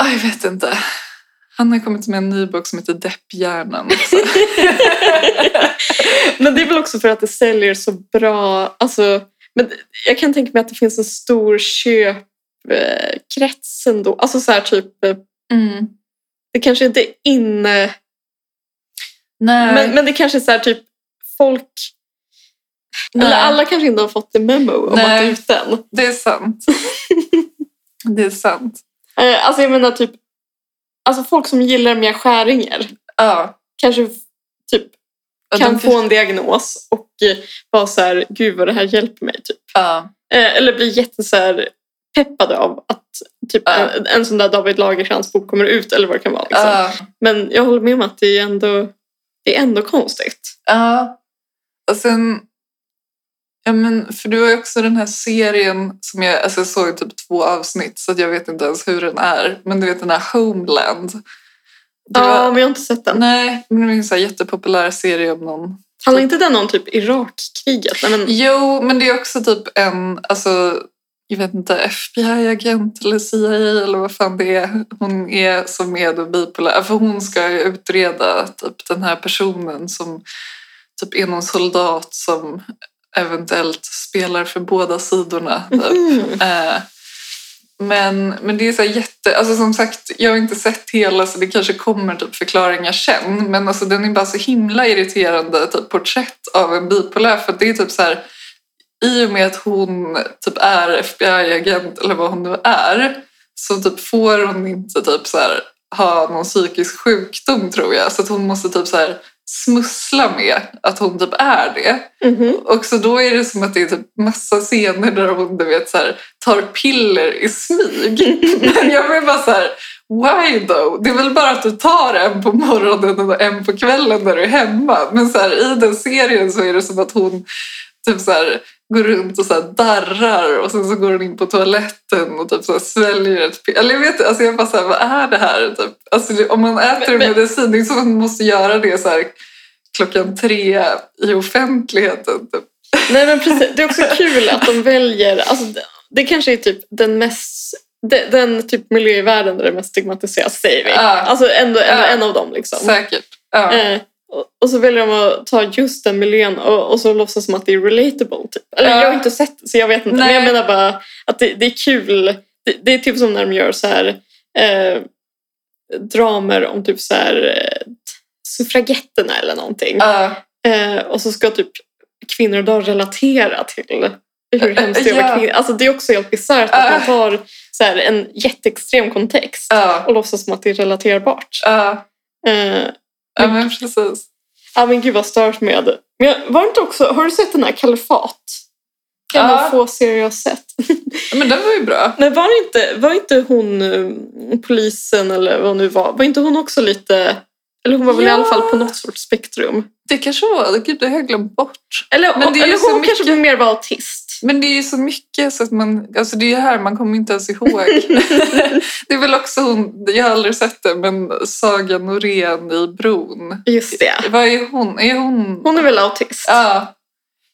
Ah, jag vet inte. Han har kommit med en ny bok som heter Depphjärnan. också.
Men det är väl också för att det säljer så bra. Alltså, men jag kan tänka mig att det finns en stor köpkrets ändå. Alltså så här typ, eh,
Mm.
det kanske inte är inne,
Nej.
men, men det kanske är så här typ folk,
Nej.
eller alla kanske inte har fått the memo om
Nej.
att det är ut den.
Det är sant. det är sant.
Eh, Alltså jag menar typ, alltså folk som gillar mer skäringer
Ja.
kanske f- typ
Och
kan
de
få en diagnos och eh, vara så här, gud vad det här hjälper mig typ.
Ja.
Eh, Eller blir jätte så här, peppade av att typ
Ja.
en, en sån där David Lagercrantz bok kommer ut eller vad det kan vara. Liksom.
Ja.
Men jag håller med om att det är ändå, det är ändå konstigt.
Ja. Och sen... Ja, men, för du har ju också den här serien som jag, alltså jag såg typ två avsnitt så att jag vet inte ens hur den är. Men du vet den här Homeland. Det
Ja,
var-
men jag har inte sett den.
Nej, men det är en så här jättepopulär serie om någon.
Handlar inte den om typ Irakkriget? Nej, men,
Jo, men det är också typ en, alltså jag vet inte, FBI-agent eller CIA eller vad fan det är. Hon är som är då bipolär, för hon ska ju utreda typ den här personen som typ är någon soldat som eventuellt spelar för båda sidorna. Typ.
Mhm.
Eh, Men, men det är så här jätte... Alltså som sagt, jag har inte sett hela så det kanske kommer typ förklaringar sen. Men alltså den är bara så himla irriterande typ porträtt av en bipolär. För att det är typ så här... I och med att hon typ är FBI-agent eller vad hon nu är så typ får hon inte typ så här, ha någon psykisk sjukdom tror jag. Så att hon måste typ så här smussla med att hon typ är det.
Mhm.
Och så då är det som att det är typ massa scener där hon du vet, så här, tar piller i smyg. Men jag blir bara så här, why though? Det är väl bara att du tar en på morgonen och en på kvällen när du är hemma. Men så här, i den serien så är det som att hon typ så här, går runt och så här, darrar och sen så går hon in på toaletten och typ så här, sväljer ett piller. Eller jag vet inte, alltså jag bara så här, vad är det här? Typ, alltså, det- om man äter
Men- men-
medicin, det är som att man måste göra det så här klockan tre i offentligheten. Typ.
Nej, men precis. Det är också kul att de väljer, alltså, det- det kanske är typ den mest de- den typ miljö i världen där det mest stigmatiseras, säger vi.
Ja.
Alltså ändå, ändå
Ja.
en av dem. Liksom.
Säkert. Ja.
Eh, och- och så väljer de att ta just den miljön och, och så låtsas som att det är relatable. Typ. Eller
Ja.
jag har inte sett det, så jag vet inte.
Nej.
Men jag menar bara att det, det är kul. Det, det är typ som när de gör så här eh, dramer om typ så här eh, suffragetterna eller någonting.
Ja.
Eh, och så ska typ kvinnor då relatera till hur hemskt det är att
Ja.
vara kvinna. Alltså det är också helt bisarrt att
Ja.
man tar så här en jätteextrem kontext
Ja.
och låtsas som att det är relaterbart.
Ja.
Eh,
ja, men precis.
Ja men gud vad stört med. Men jag- var det inte också, har du sett den här Kalifat? En
Ja.
av få serier jag har sett.
Men den var ju bra.
Men var inte, var inte hon eh, polisen eller vad hon nu var, var inte hon också lite, eller hon var väl i
Ja.
alla fall på något sorts spektrum?
Det kanske var... Gud, det har jag glömt bort.
Eller,
Men det är ju
eller
så
hon kanske
mycket-
mer var autist.
Men det är ju så mycket så att man... Alltså det är ju här man kommer inte ens ihåg. det är väl också hon... Jag har aldrig sett det, men Saga Norén i Bron.
Just det.
Vad är hon? Är hon...
Hon är väl autist?
Ja.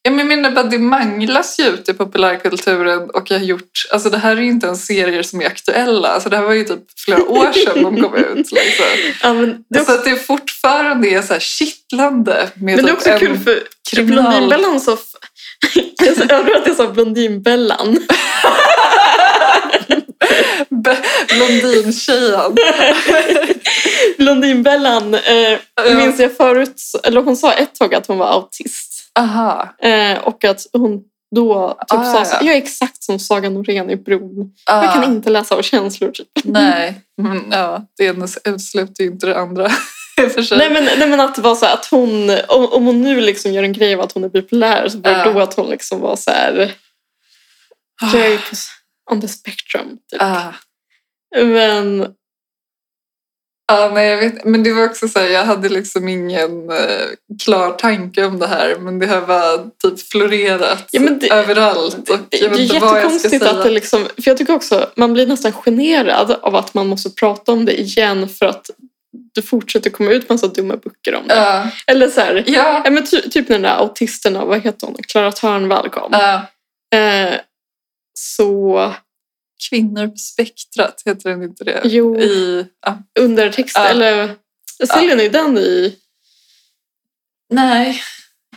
Ja, men Jag menar bara det manglas ju ut i populärkulturen och jag har gjort, alltså det här är ju inte ens serier som är aktuella, alltså det här var ju typ flera år sedan de kom ut. Liksom.
Ja, men det är
så
också,
att det fortfarande är så här kittlande. Med
men det
typ
är också
en-
kul för
kriminal-
Blondinbellan så... Jag sa- jag tror att jag sa Blondinbellan.
Be- Blondintjejen.
Blondinbellan eh,
Ja.
minns jag förut, eller hon sa ett tag att hon var autist.
Aha.
Eh, och att hon då typ
Ah,
sa så,
ja.
jag är exakt som Saga Norén i Bron.
Ah, Mm,
Jag kan inte läsa av känslor. Typ.
Nej, men ja, det ena utesluter ju inte det andra. jag för sig.
Nej men, nej men att det var så här att hon, om, om hon nu liksom gör en grej av att hon är bipolär så var det
Ja.
då att hon liksom var så här, jag är på s- on the spectrum. Typ.
Ah.
Men
Ja, Ah, nej, jag vet. Men det var också så här, jag hade liksom ingen eh, klar tanke om det här, men det har bara typ florerat
Ja, men det-
överallt. Och
det
jag
är
vet inte vad jag ska
jättekonstigt
säga.
att det liksom, för jag tycker också, man blir nästan generad av att man måste prata om det igen för att det fortsätter komma ut massa dumma böcker om det.
Ja,
Eller så här,
ja,
ja, men ty, typ när den där autisten av, vad heter hon, Klara Törnvall kom.
ja.
Eh, så,
Kvinnor på spektrat, heter den inte det?
jo.
I, ja.
undertext
Ja.
eller säljer ni den i?
Nej,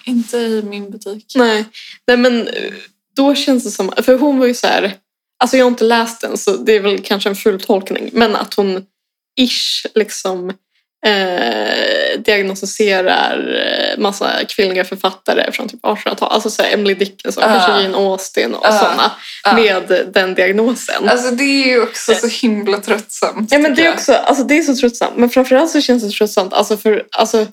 inte i min butik.
Nej. Nej men eh, då känns det som, för hon var ju så här, alltså jag har inte läst den så det är väl kanske en full tolkning, men att hon ish liksom eh, diagnostiserar eh, massa kvinnliga författare från typ 1800-talet, alltså så här Emily Dickinson,
Ja.
kanske Jane Austen och
Ja.
sådana,
Ja.
med den diagnosen.
Alltså det är ju också så himla tröttsamt.
Ja, men
tycker
det, är
jag.
också, alltså, det är så tröttsamt. Men framförallt så känns det tröttsamt. Alltså för, alltså, m-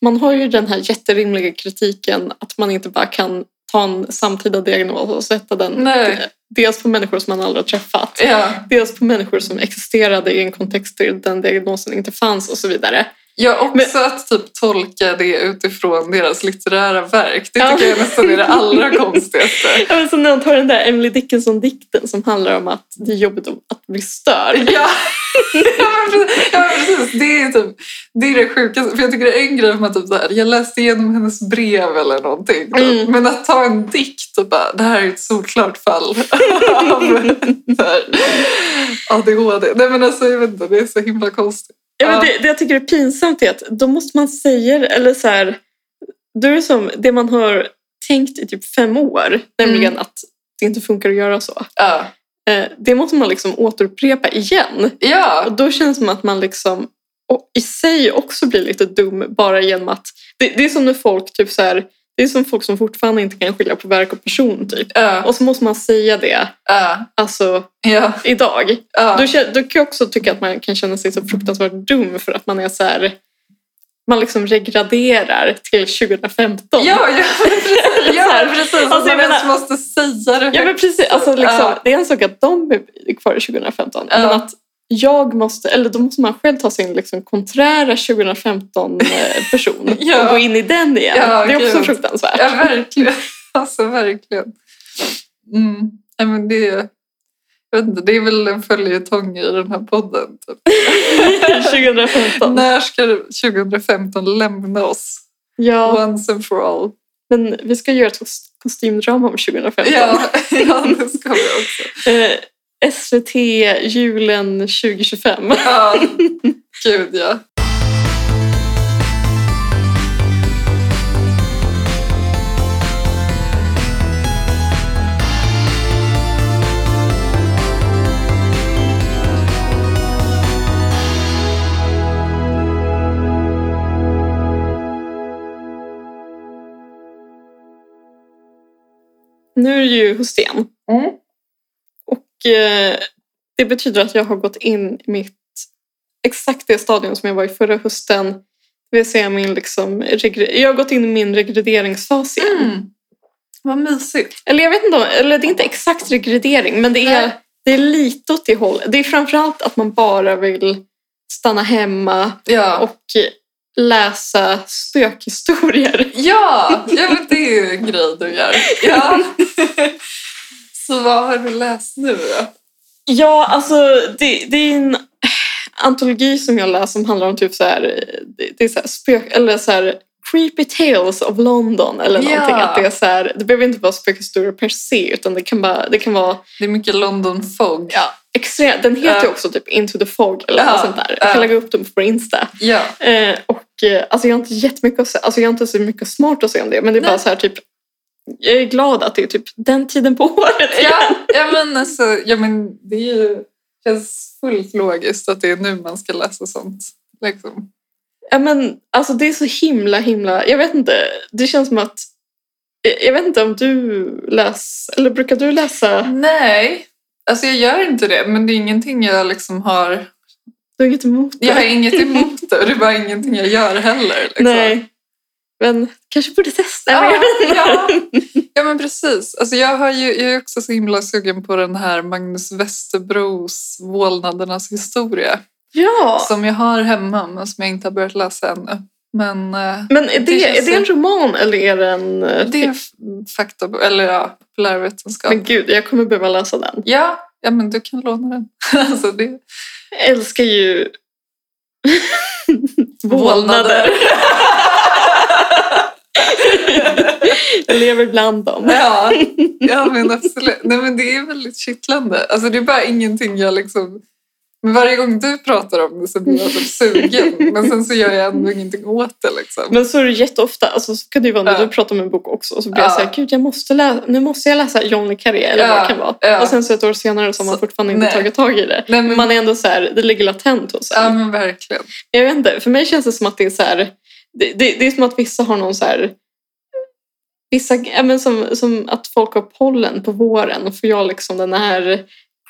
man har ju den här jätterimliga kritiken att man inte bara kan ta en samtida diagnos och sätta den
Nej.
dels på människor som man aldrig har träffat,
Ja.
dels på människor som existerade i en kontext där den diagnosen inte fanns och så vidare.
Ja, också att typ tolka det utifrån deras litterära verk. Det
Ja.
tycker jag nästan är det allra konstigaste.
Ja, men så när hon tar den där Emily Dickinson-dikten som handlar om att det är jobbigt att bli störd.
Ja, ja, men precis, ja men precis. Det är, typ, det är det sjukaste. För jag tycker det är en grej med typ så här, jag läste igenom hennes brev eller någonting. Typ.
Mm.
Men att ta en dikt och bara, det här är ett solklart fall av så här, ADHD. Nej men alltså jag vet inte, det är så himla konstigt.
Ja, men
Ja.
det, det jag tycker är pinsamt är att då måste man säga det, eller så här, då är det som det man har tänkt i typ fem år, nämligen att det inte funkar att göra så.
Ja,
Eh, det måste man liksom återupprepa igen.
ja.
Och då känns det som att man liksom och i sig också blir lite dum bara genom att det, det är som när folk typ så här, det är som folk som fortfarande inte kan skilja på verk och person typ.
ja,
Och så måste man säga det,
ja,
alltså
ja,
idag.
ja.
Då, kä- då kan jag också tycka att man kan känna sig så fruktansvärt dum för att man är så här, man liksom regraderar till
Ja,
2015.
ja, men precis. Ja,
Eller så här.
precis. Att
Alltså, jag
man ens
menar-
måste säga det
Ja, men precis, alltså liksom,
Ja.
det är en sak att de är kvar i 2015,
Ja.
men att jag måste, eller då måste man själv ta sin liksom konträra 2015-person
Ja.
och gå in i den igen.
Ja,
det är också
gud.
fruktansvärt.
Ja, verkligen. Alltså verkligen. Mm. Nej, men det, är- jag vet inte, det är väl en följetong i den här podden. Typ.
2015.
När ska 2015 lämna oss?
Ja,
Once and for all.
men vi ska göra ett kos- kostymdrama om 2015.
Ja, ja det ska vi också.
Eh, SVT julen 2025.
Ja, gud ja.
Nu är det ju Hussein.
Mm.
Och eh, det betyder att jag har gått in i mitt exakt det stadium som jag var i förra hösten. Det vill säga min liksom, regre- jag har gått in i min regrederingsfas igen.
Mm. Vad mysigt.
Eller jag vet inte, om- eller det är inte exakt regredering men det är,
Nej.
det är lite åt det hållet. Det är framförallt att man bara vill stanna hemma
Ja,
och läsa spökhistorier.
ja, ja men det är ju en grej du gör. Ja. Så vad har du läst nu då?
Ja, alltså det, det är en antologi som jag läser som handlar om typ så här, det, det är så här spök, eller så här creepy tales of London eller
Ja.
någonting. Att det, är så här, det behöver inte vara spökhistorier per se utan det kan, bara, det kan vara
Det är mycket London Fog.
ja, extremt, den heter ju
Ja.
också typ Into the Fog eller
Ja,
något sånt där. Jag kan
ja.
lägga upp dem på vår Insta.
Ja.
Eh, och eh, alltså jag har inte jättemycket att säga, alltså jag har inte så mycket smart att säga om det men det är
Nej.
bara så här typ jag är glad att det är typ den tiden på året.
Ja, ja, men alltså, ja, men det är ju, känns fullt logiskt att det är nu man ska läsa sånt. Liksom.
Ja, men, alltså, det är så himla, himla... Jag vet inte. Det känns som att... jag- Jag vet inte om du läser... Eller brukar du läsa?
Nej, alltså jag gör inte det, men det är ingenting jag liksom har
Du har inget emot det?
Jag har inget emot det och det är bara ingenting jag gör heller. Liksom.
Nej. Men kanske borde testa.
Ja,
Ja.
ja. ja men precis. Alltså jag, har ju, jag är också så himla sugen på den här Magnus Westerbros Vålnadernas historia.
ja.
Som jag har hemma men som jag inte har börjat läsa ännu. Men eh,
Men är det,
Det känns
är det en roman eller är det en... eh,
det är f- fakta, eller ja, populärvetenskap.
Men gud, jag kommer behöva läsa den.
Ja, ja, men du kan låna den. alltså det,
Jag älskar ju... Vålnader. jag lever bland dem.
Ja, ja men absolut. Nej, men det är väldigt kittlande. Alltså, det är bara ingenting jag liksom... Men varje gång du pratar om det så blir jag typ sugen. Men sen så gör jag ändå ingenting åt det. Liksom.
Men så är det jätteofta, alltså, så kan det ju vara när
Ja.
du pratar om en bok också och så blir jag
Ja.
såhär, gud jag måste läsa, nu måste jag läsa John le Carré eller
Ja,
vad det kan vara.
ja.
Och sen så ett år senare så har man
Så-
fortfarande inte
nej.
tagit tag i det.
Nej, men,
Men man är ändå så här, det ligger latent hos en.
Ja, men verkligen.
Jag vet inte, för mig känns det som att det är så här, det, det, det är som att vissa har någon så här, vissa, ja, men som, som att folk har pollen på våren och får jag liksom den här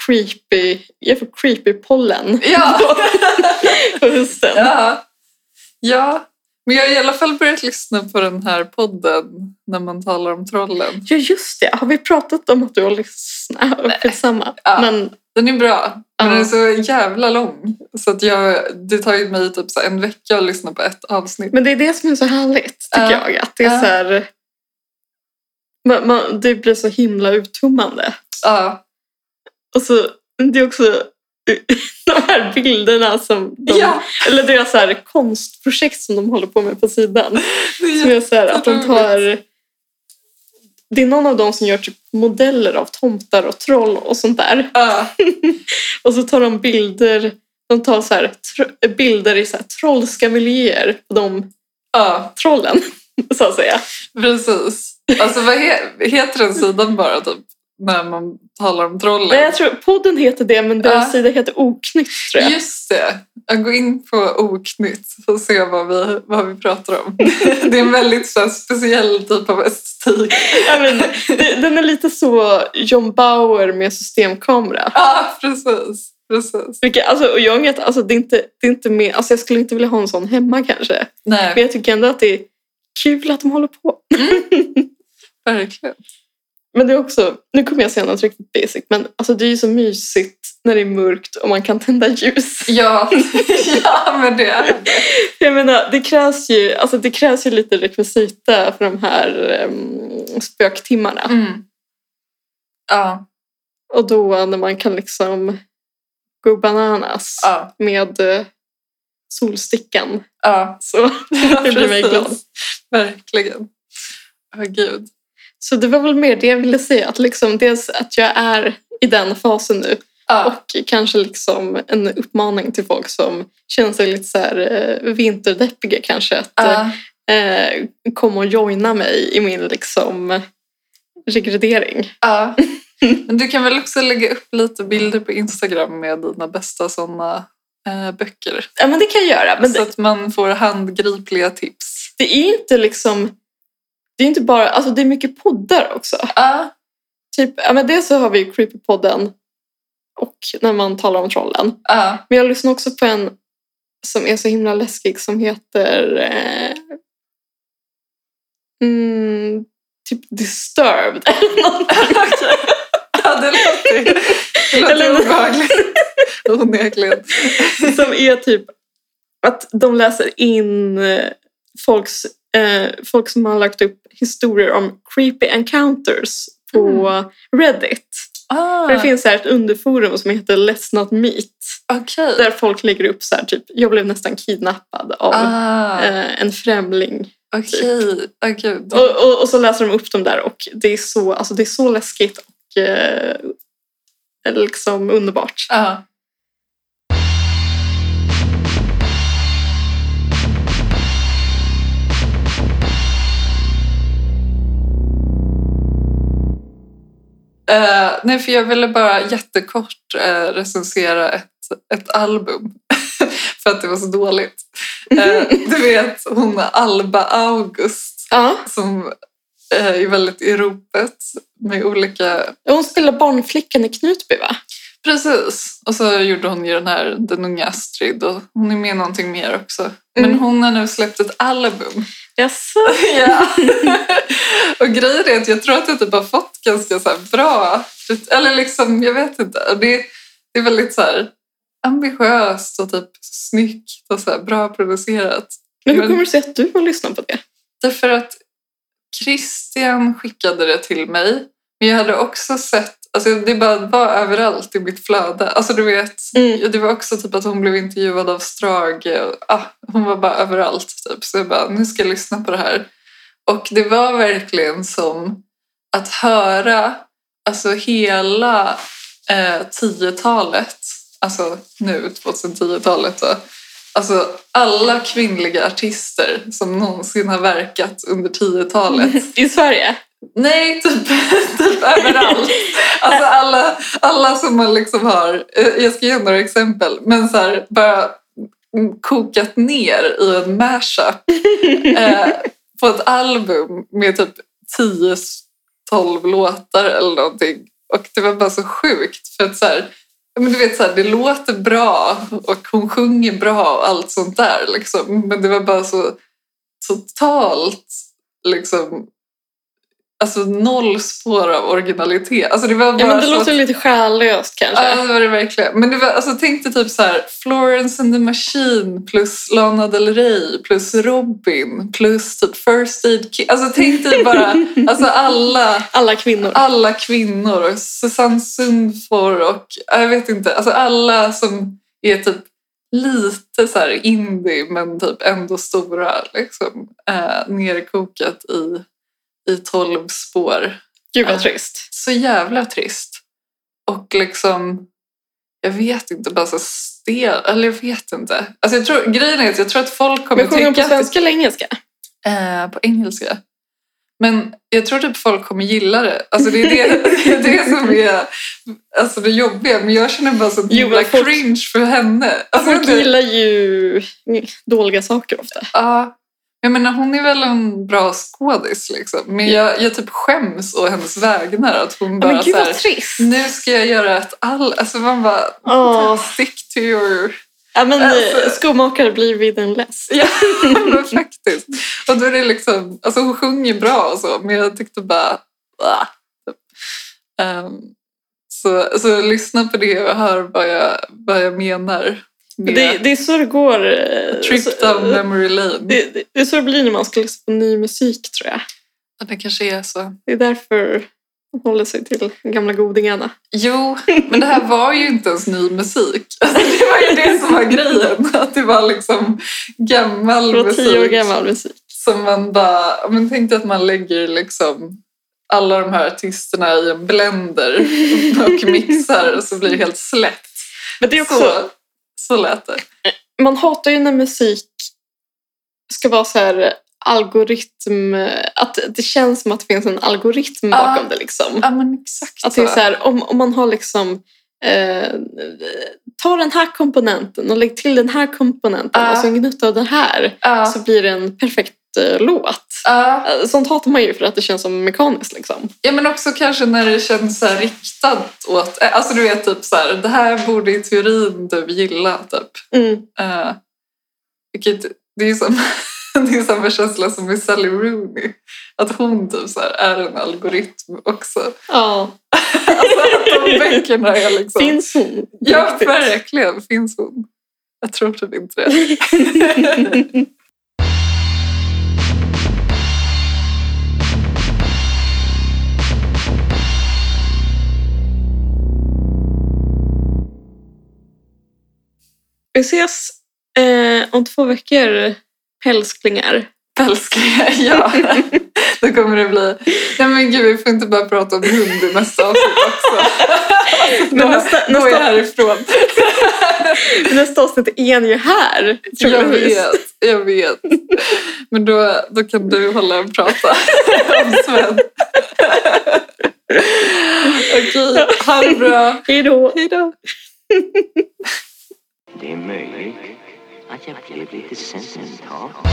creepy, jag får creepy pollen
Ja.
på hösten.
Ja. ja. Men jag har i alla fall börjat lyssna på den här podden när man talar om trollen.
Ja just det, har vi pratat om att du har lyssnat? Ja, Skitsamma.
Ja.
Men
Den är bra, men
Ja.
den är så jävla lång. Så att jag, det tar ju mig typ så här en vecka att lyssna på ett avsnitt.
Men det är det som är så härligt, tycker
Ja.
jag. Att det är
Ja.
så här, man, man, det blir så himla uttummande.
Ja.
Och så, det är också de här bilderna som de,
Ja.
eller deras så här konstprojekt som de håller på med på sidan. Som är så här, att de tar, det är någon av dem som gör typ modeller av tomtar och troll och sånt där.
Ja.
Och så tar de bilder, de tar så här, tr- bilder i så här trollska miljöer på de
Ja,
trollen, så att säga.
precis. Alltså vad he- heter den sidan bara typ? När man talar om trollen?
Nej, jag tror podden heter det, men deras
Ja.
sida heter Oknytt tror jag.
Just det. Jag går in på Oknytt och se vad vi, vad vi pratar om. det är en väldigt så här, speciell typ av estetik.
Ja, men, det- den är lite så John Bauer med systemkamera.
Ja, precis. precis.
Vilket, alltså, och jag har inget, alltså, det är inte, det är inte med, alltså, jag skulle inte vilja ha en sån hemma kanske. Men
Nej,
jag tycker ändå att det är kul att de håller på.
verkligen.
Men det är också, nu kommer jag säga något riktigt basic, men alltså, det är ju så mysigt när det är mörkt och man kan tända ljus.
Ja, ja men det är det.
Jag menar, det krävs ju, alltså, det krävs ju lite rekvisita för de här um, spöktimmarna.
Mm. Ja,
Och då när man kan liksom gå bananas
ja,
med eh, solstickan.
ja.
Så, det blir mig
Precis.
glad.
Verkligen. Åh gud.
så det var väl mer det jag ville säga. Att liksom, dels att jag är i den fasen nu.
Ja.
Och eh, kanske liksom en uppmaning till folk som känner sig lite så här eh, vinterdeppiga kanske. Att
ja.
eh, komma och joina mig i min liksom regredering.
Ja. Men du kan väl också lägga upp lite bilder på Instagram med dina bästa sådana eh, böcker.
Ja men det kan jag göra. Men
så
det,
att man får handgripliga tips.
det är inte liksom... Det är inte bara... Alltså det är mycket poddar också.
Ja,
Typ, ja, men dels så har vi ju Creepypodden och när man talar om trollen.
ja,
Men jag lyssnar också på en som är så himla läskig som heter eh, mm, typ Disturbed. eller någonting.
ja det låter, det låter
Eller-
obehagligt. Onekligen.
som är typ att de läser in eh, folks, eh, folk som har lagt upp historier om creepy encounters på Reddit.
Ah,
För det finns så här ett underforum som heter Let's Not Meet.
Okej.
Där folk lägger upp så här, typ, jag blev nästan kidnappad av
Ah,
eh, en främling.
Okej. Åh gud.
Och, och, och så läser de upp dem där och det är så, alltså, det är så läskigt och eh, liksom underbart.
Ja. Eh, nej, för jag ville bara jättekort eh, recensera ett, ett album för att det var så dåligt. Eh, du vet, hon Alba August
Ja,
som eh, är väldigt i ropet med olika
hon spelar barnflickan i Knutby va?
Precis. Och så gjorde hon ju den här Den unga Astrid och hon är med i någonting mer också. Men
Mm.
hon har nu släppt ett album.
Jaså?
Ja. och grejen är att jag tror att jag typ har fått ganska så här bra, eller liksom, jag vet inte. Och Det, det är väldigt så här ambitiöst och typ snyggt och så här bra producerat.
Men hur
Men-
kommer det sig att du har lyssnat på det?
Därför att Christian skickade det till mig, men jag hade också sett, alltså det bara var överallt i mitt flöde. Alltså du vet, Ja, Det var också typ att hon blev intervjuad av Strage. Och, ah, hon var bara överallt. Typ. Så jag bara, nu ska jag lyssna på det här. Och det var verkligen som att höra alltså hela eh, 10-talet, alltså nu 2010-talet då. Alltså alla kvinnliga artister som någonsin har verkat under 10-talet.
I Sverige?
Nej, typ, typ överallt. Alltså alla, alla som man liksom har, eh, jag ska ge några exempel, men så här, bara mm, kokat ner i en mashup eh, på ett album med typ 10-12 låtar eller någonting. Och det var bara så sjukt för att så här, ja, men du vet så här, det låter bra och hon sjunger bra och allt sånt där liksom. Men det var bara så totalt liksom Alltså noll spår av originalitet. Alltså det var bara
Ja, men det
så
låter lite själlöst kanske.
Ja, det var det verkligen. Men det var, alltså, tänk dig typ så här, Florence and the Machine plus Lana Del Rey plus Robin plus typ First Aid Kit. Alltså tänk dig bara alltså, alla,
Alla kvinnor.
alla kvinnor och Susanne Sundfors och ja, jag vet inte, alltså alla som är typ lite så här indie men typ ändå stora liksom, eh, nerkokat i, i tolv spår.
Gud
Ja.
vad trist.
Så jävla trist. Och liksom, jag vet inte, bara så stel. Eller jag vet inte. Alltså jag tror, grejen är att jag tror att folk kommer
Men sjunger hon på
tycka... att-
svenska eller engelska?
Eh, på engelska. Men jag tror typ folk kommer gilla det. Alltså det är det, det, är det som är alltså det jobbiga. Men jag känner bara sån
Jo,
jävla
men folk-
cringe för henne. Alltså
Folk
det-
gillar ju dåliga saker ofta.
Ja. Jag menar, hon är väl en bra skådis liksom. Men jag, jag typ skäms å hennes vägnar att hon
Ja,
bara
men gud
så här,
vad trist.
nu ska jag göra ett all... Alltså man bara,
Ja.
stick to your...
Ja, men
Alltså-
eh, skomakare blir vid en less.
Ja, men faktiskt. Och då är det liksom, alltså hon sjunger bra och så, men jag tyckte bara... "Ah", typ. Ehm, så, så lyssna på det och hör vad jag, vad jag menar. Med
Det, det är så det går. eh,
Trip
så-
down memory lane. Det,
det, det, det är så det blir när man ska lyssna på ny musik tror jag.
det kanske är så.
Det är därför man håller sig till de gamla godingarna.
Jo, men det här var ju inte ens ny musik. Alltså, det var ju det som var grejen. Att det var liksom gammal
Det var tio år
musik.
gammal musik.
Som man bara, ja, men tänk dig att man lägger liksom alla de här artisterna i en blender och mixar och så blir det helt slätt.
Men det är också,
Så, så lät det.
man hatar ju när musik ska vara så här algoritm, att det känns som att det finns en
Ja.
algoritm bakom det liksom.
Ja men exakt
Att det är så här, om, om man har liksom eh, ta den här komponenten och lägg till den här komponenten
Ja.
och så en gnutta av den här
Ja.
så blir det en perfekt eh, låt.
Ja.
Eh, Sånt hatar man ju för att det känns som mekaniskt liksom.
ja men också kanske när det känns så här riktat åt, eh, alltså du vet typ så här, det här borde i teorin du gilla typ.
Mm.
Uh, vilket, det är ju som, det är samma känsla som med Sally Rooney. Att hon typ så här är en algoritm också.
Ja,
Alltså att de böckerna är liksom...
finns hon?
ja,
Riktigt.
verkligen. Finns hon? Jag tror typ inte det.
Vi ses eh, om två veckor, pälsklingar.
Älsklingar, ja. Då kommer det bli... Nej men gud, vi får inte bara prata om hund i nästa avsnitt också.
Men nästa,
Då är jag
nästa,
härifrån.
nästa avsnitt är ni ju här.
Jag
troligtvis.
vet, jag vet. Men då, då kan du hålla och prata om Sven. Okej, ha det bra.
Hej då.
Hej då.
Det är möjligt att jag blev lite sentimental.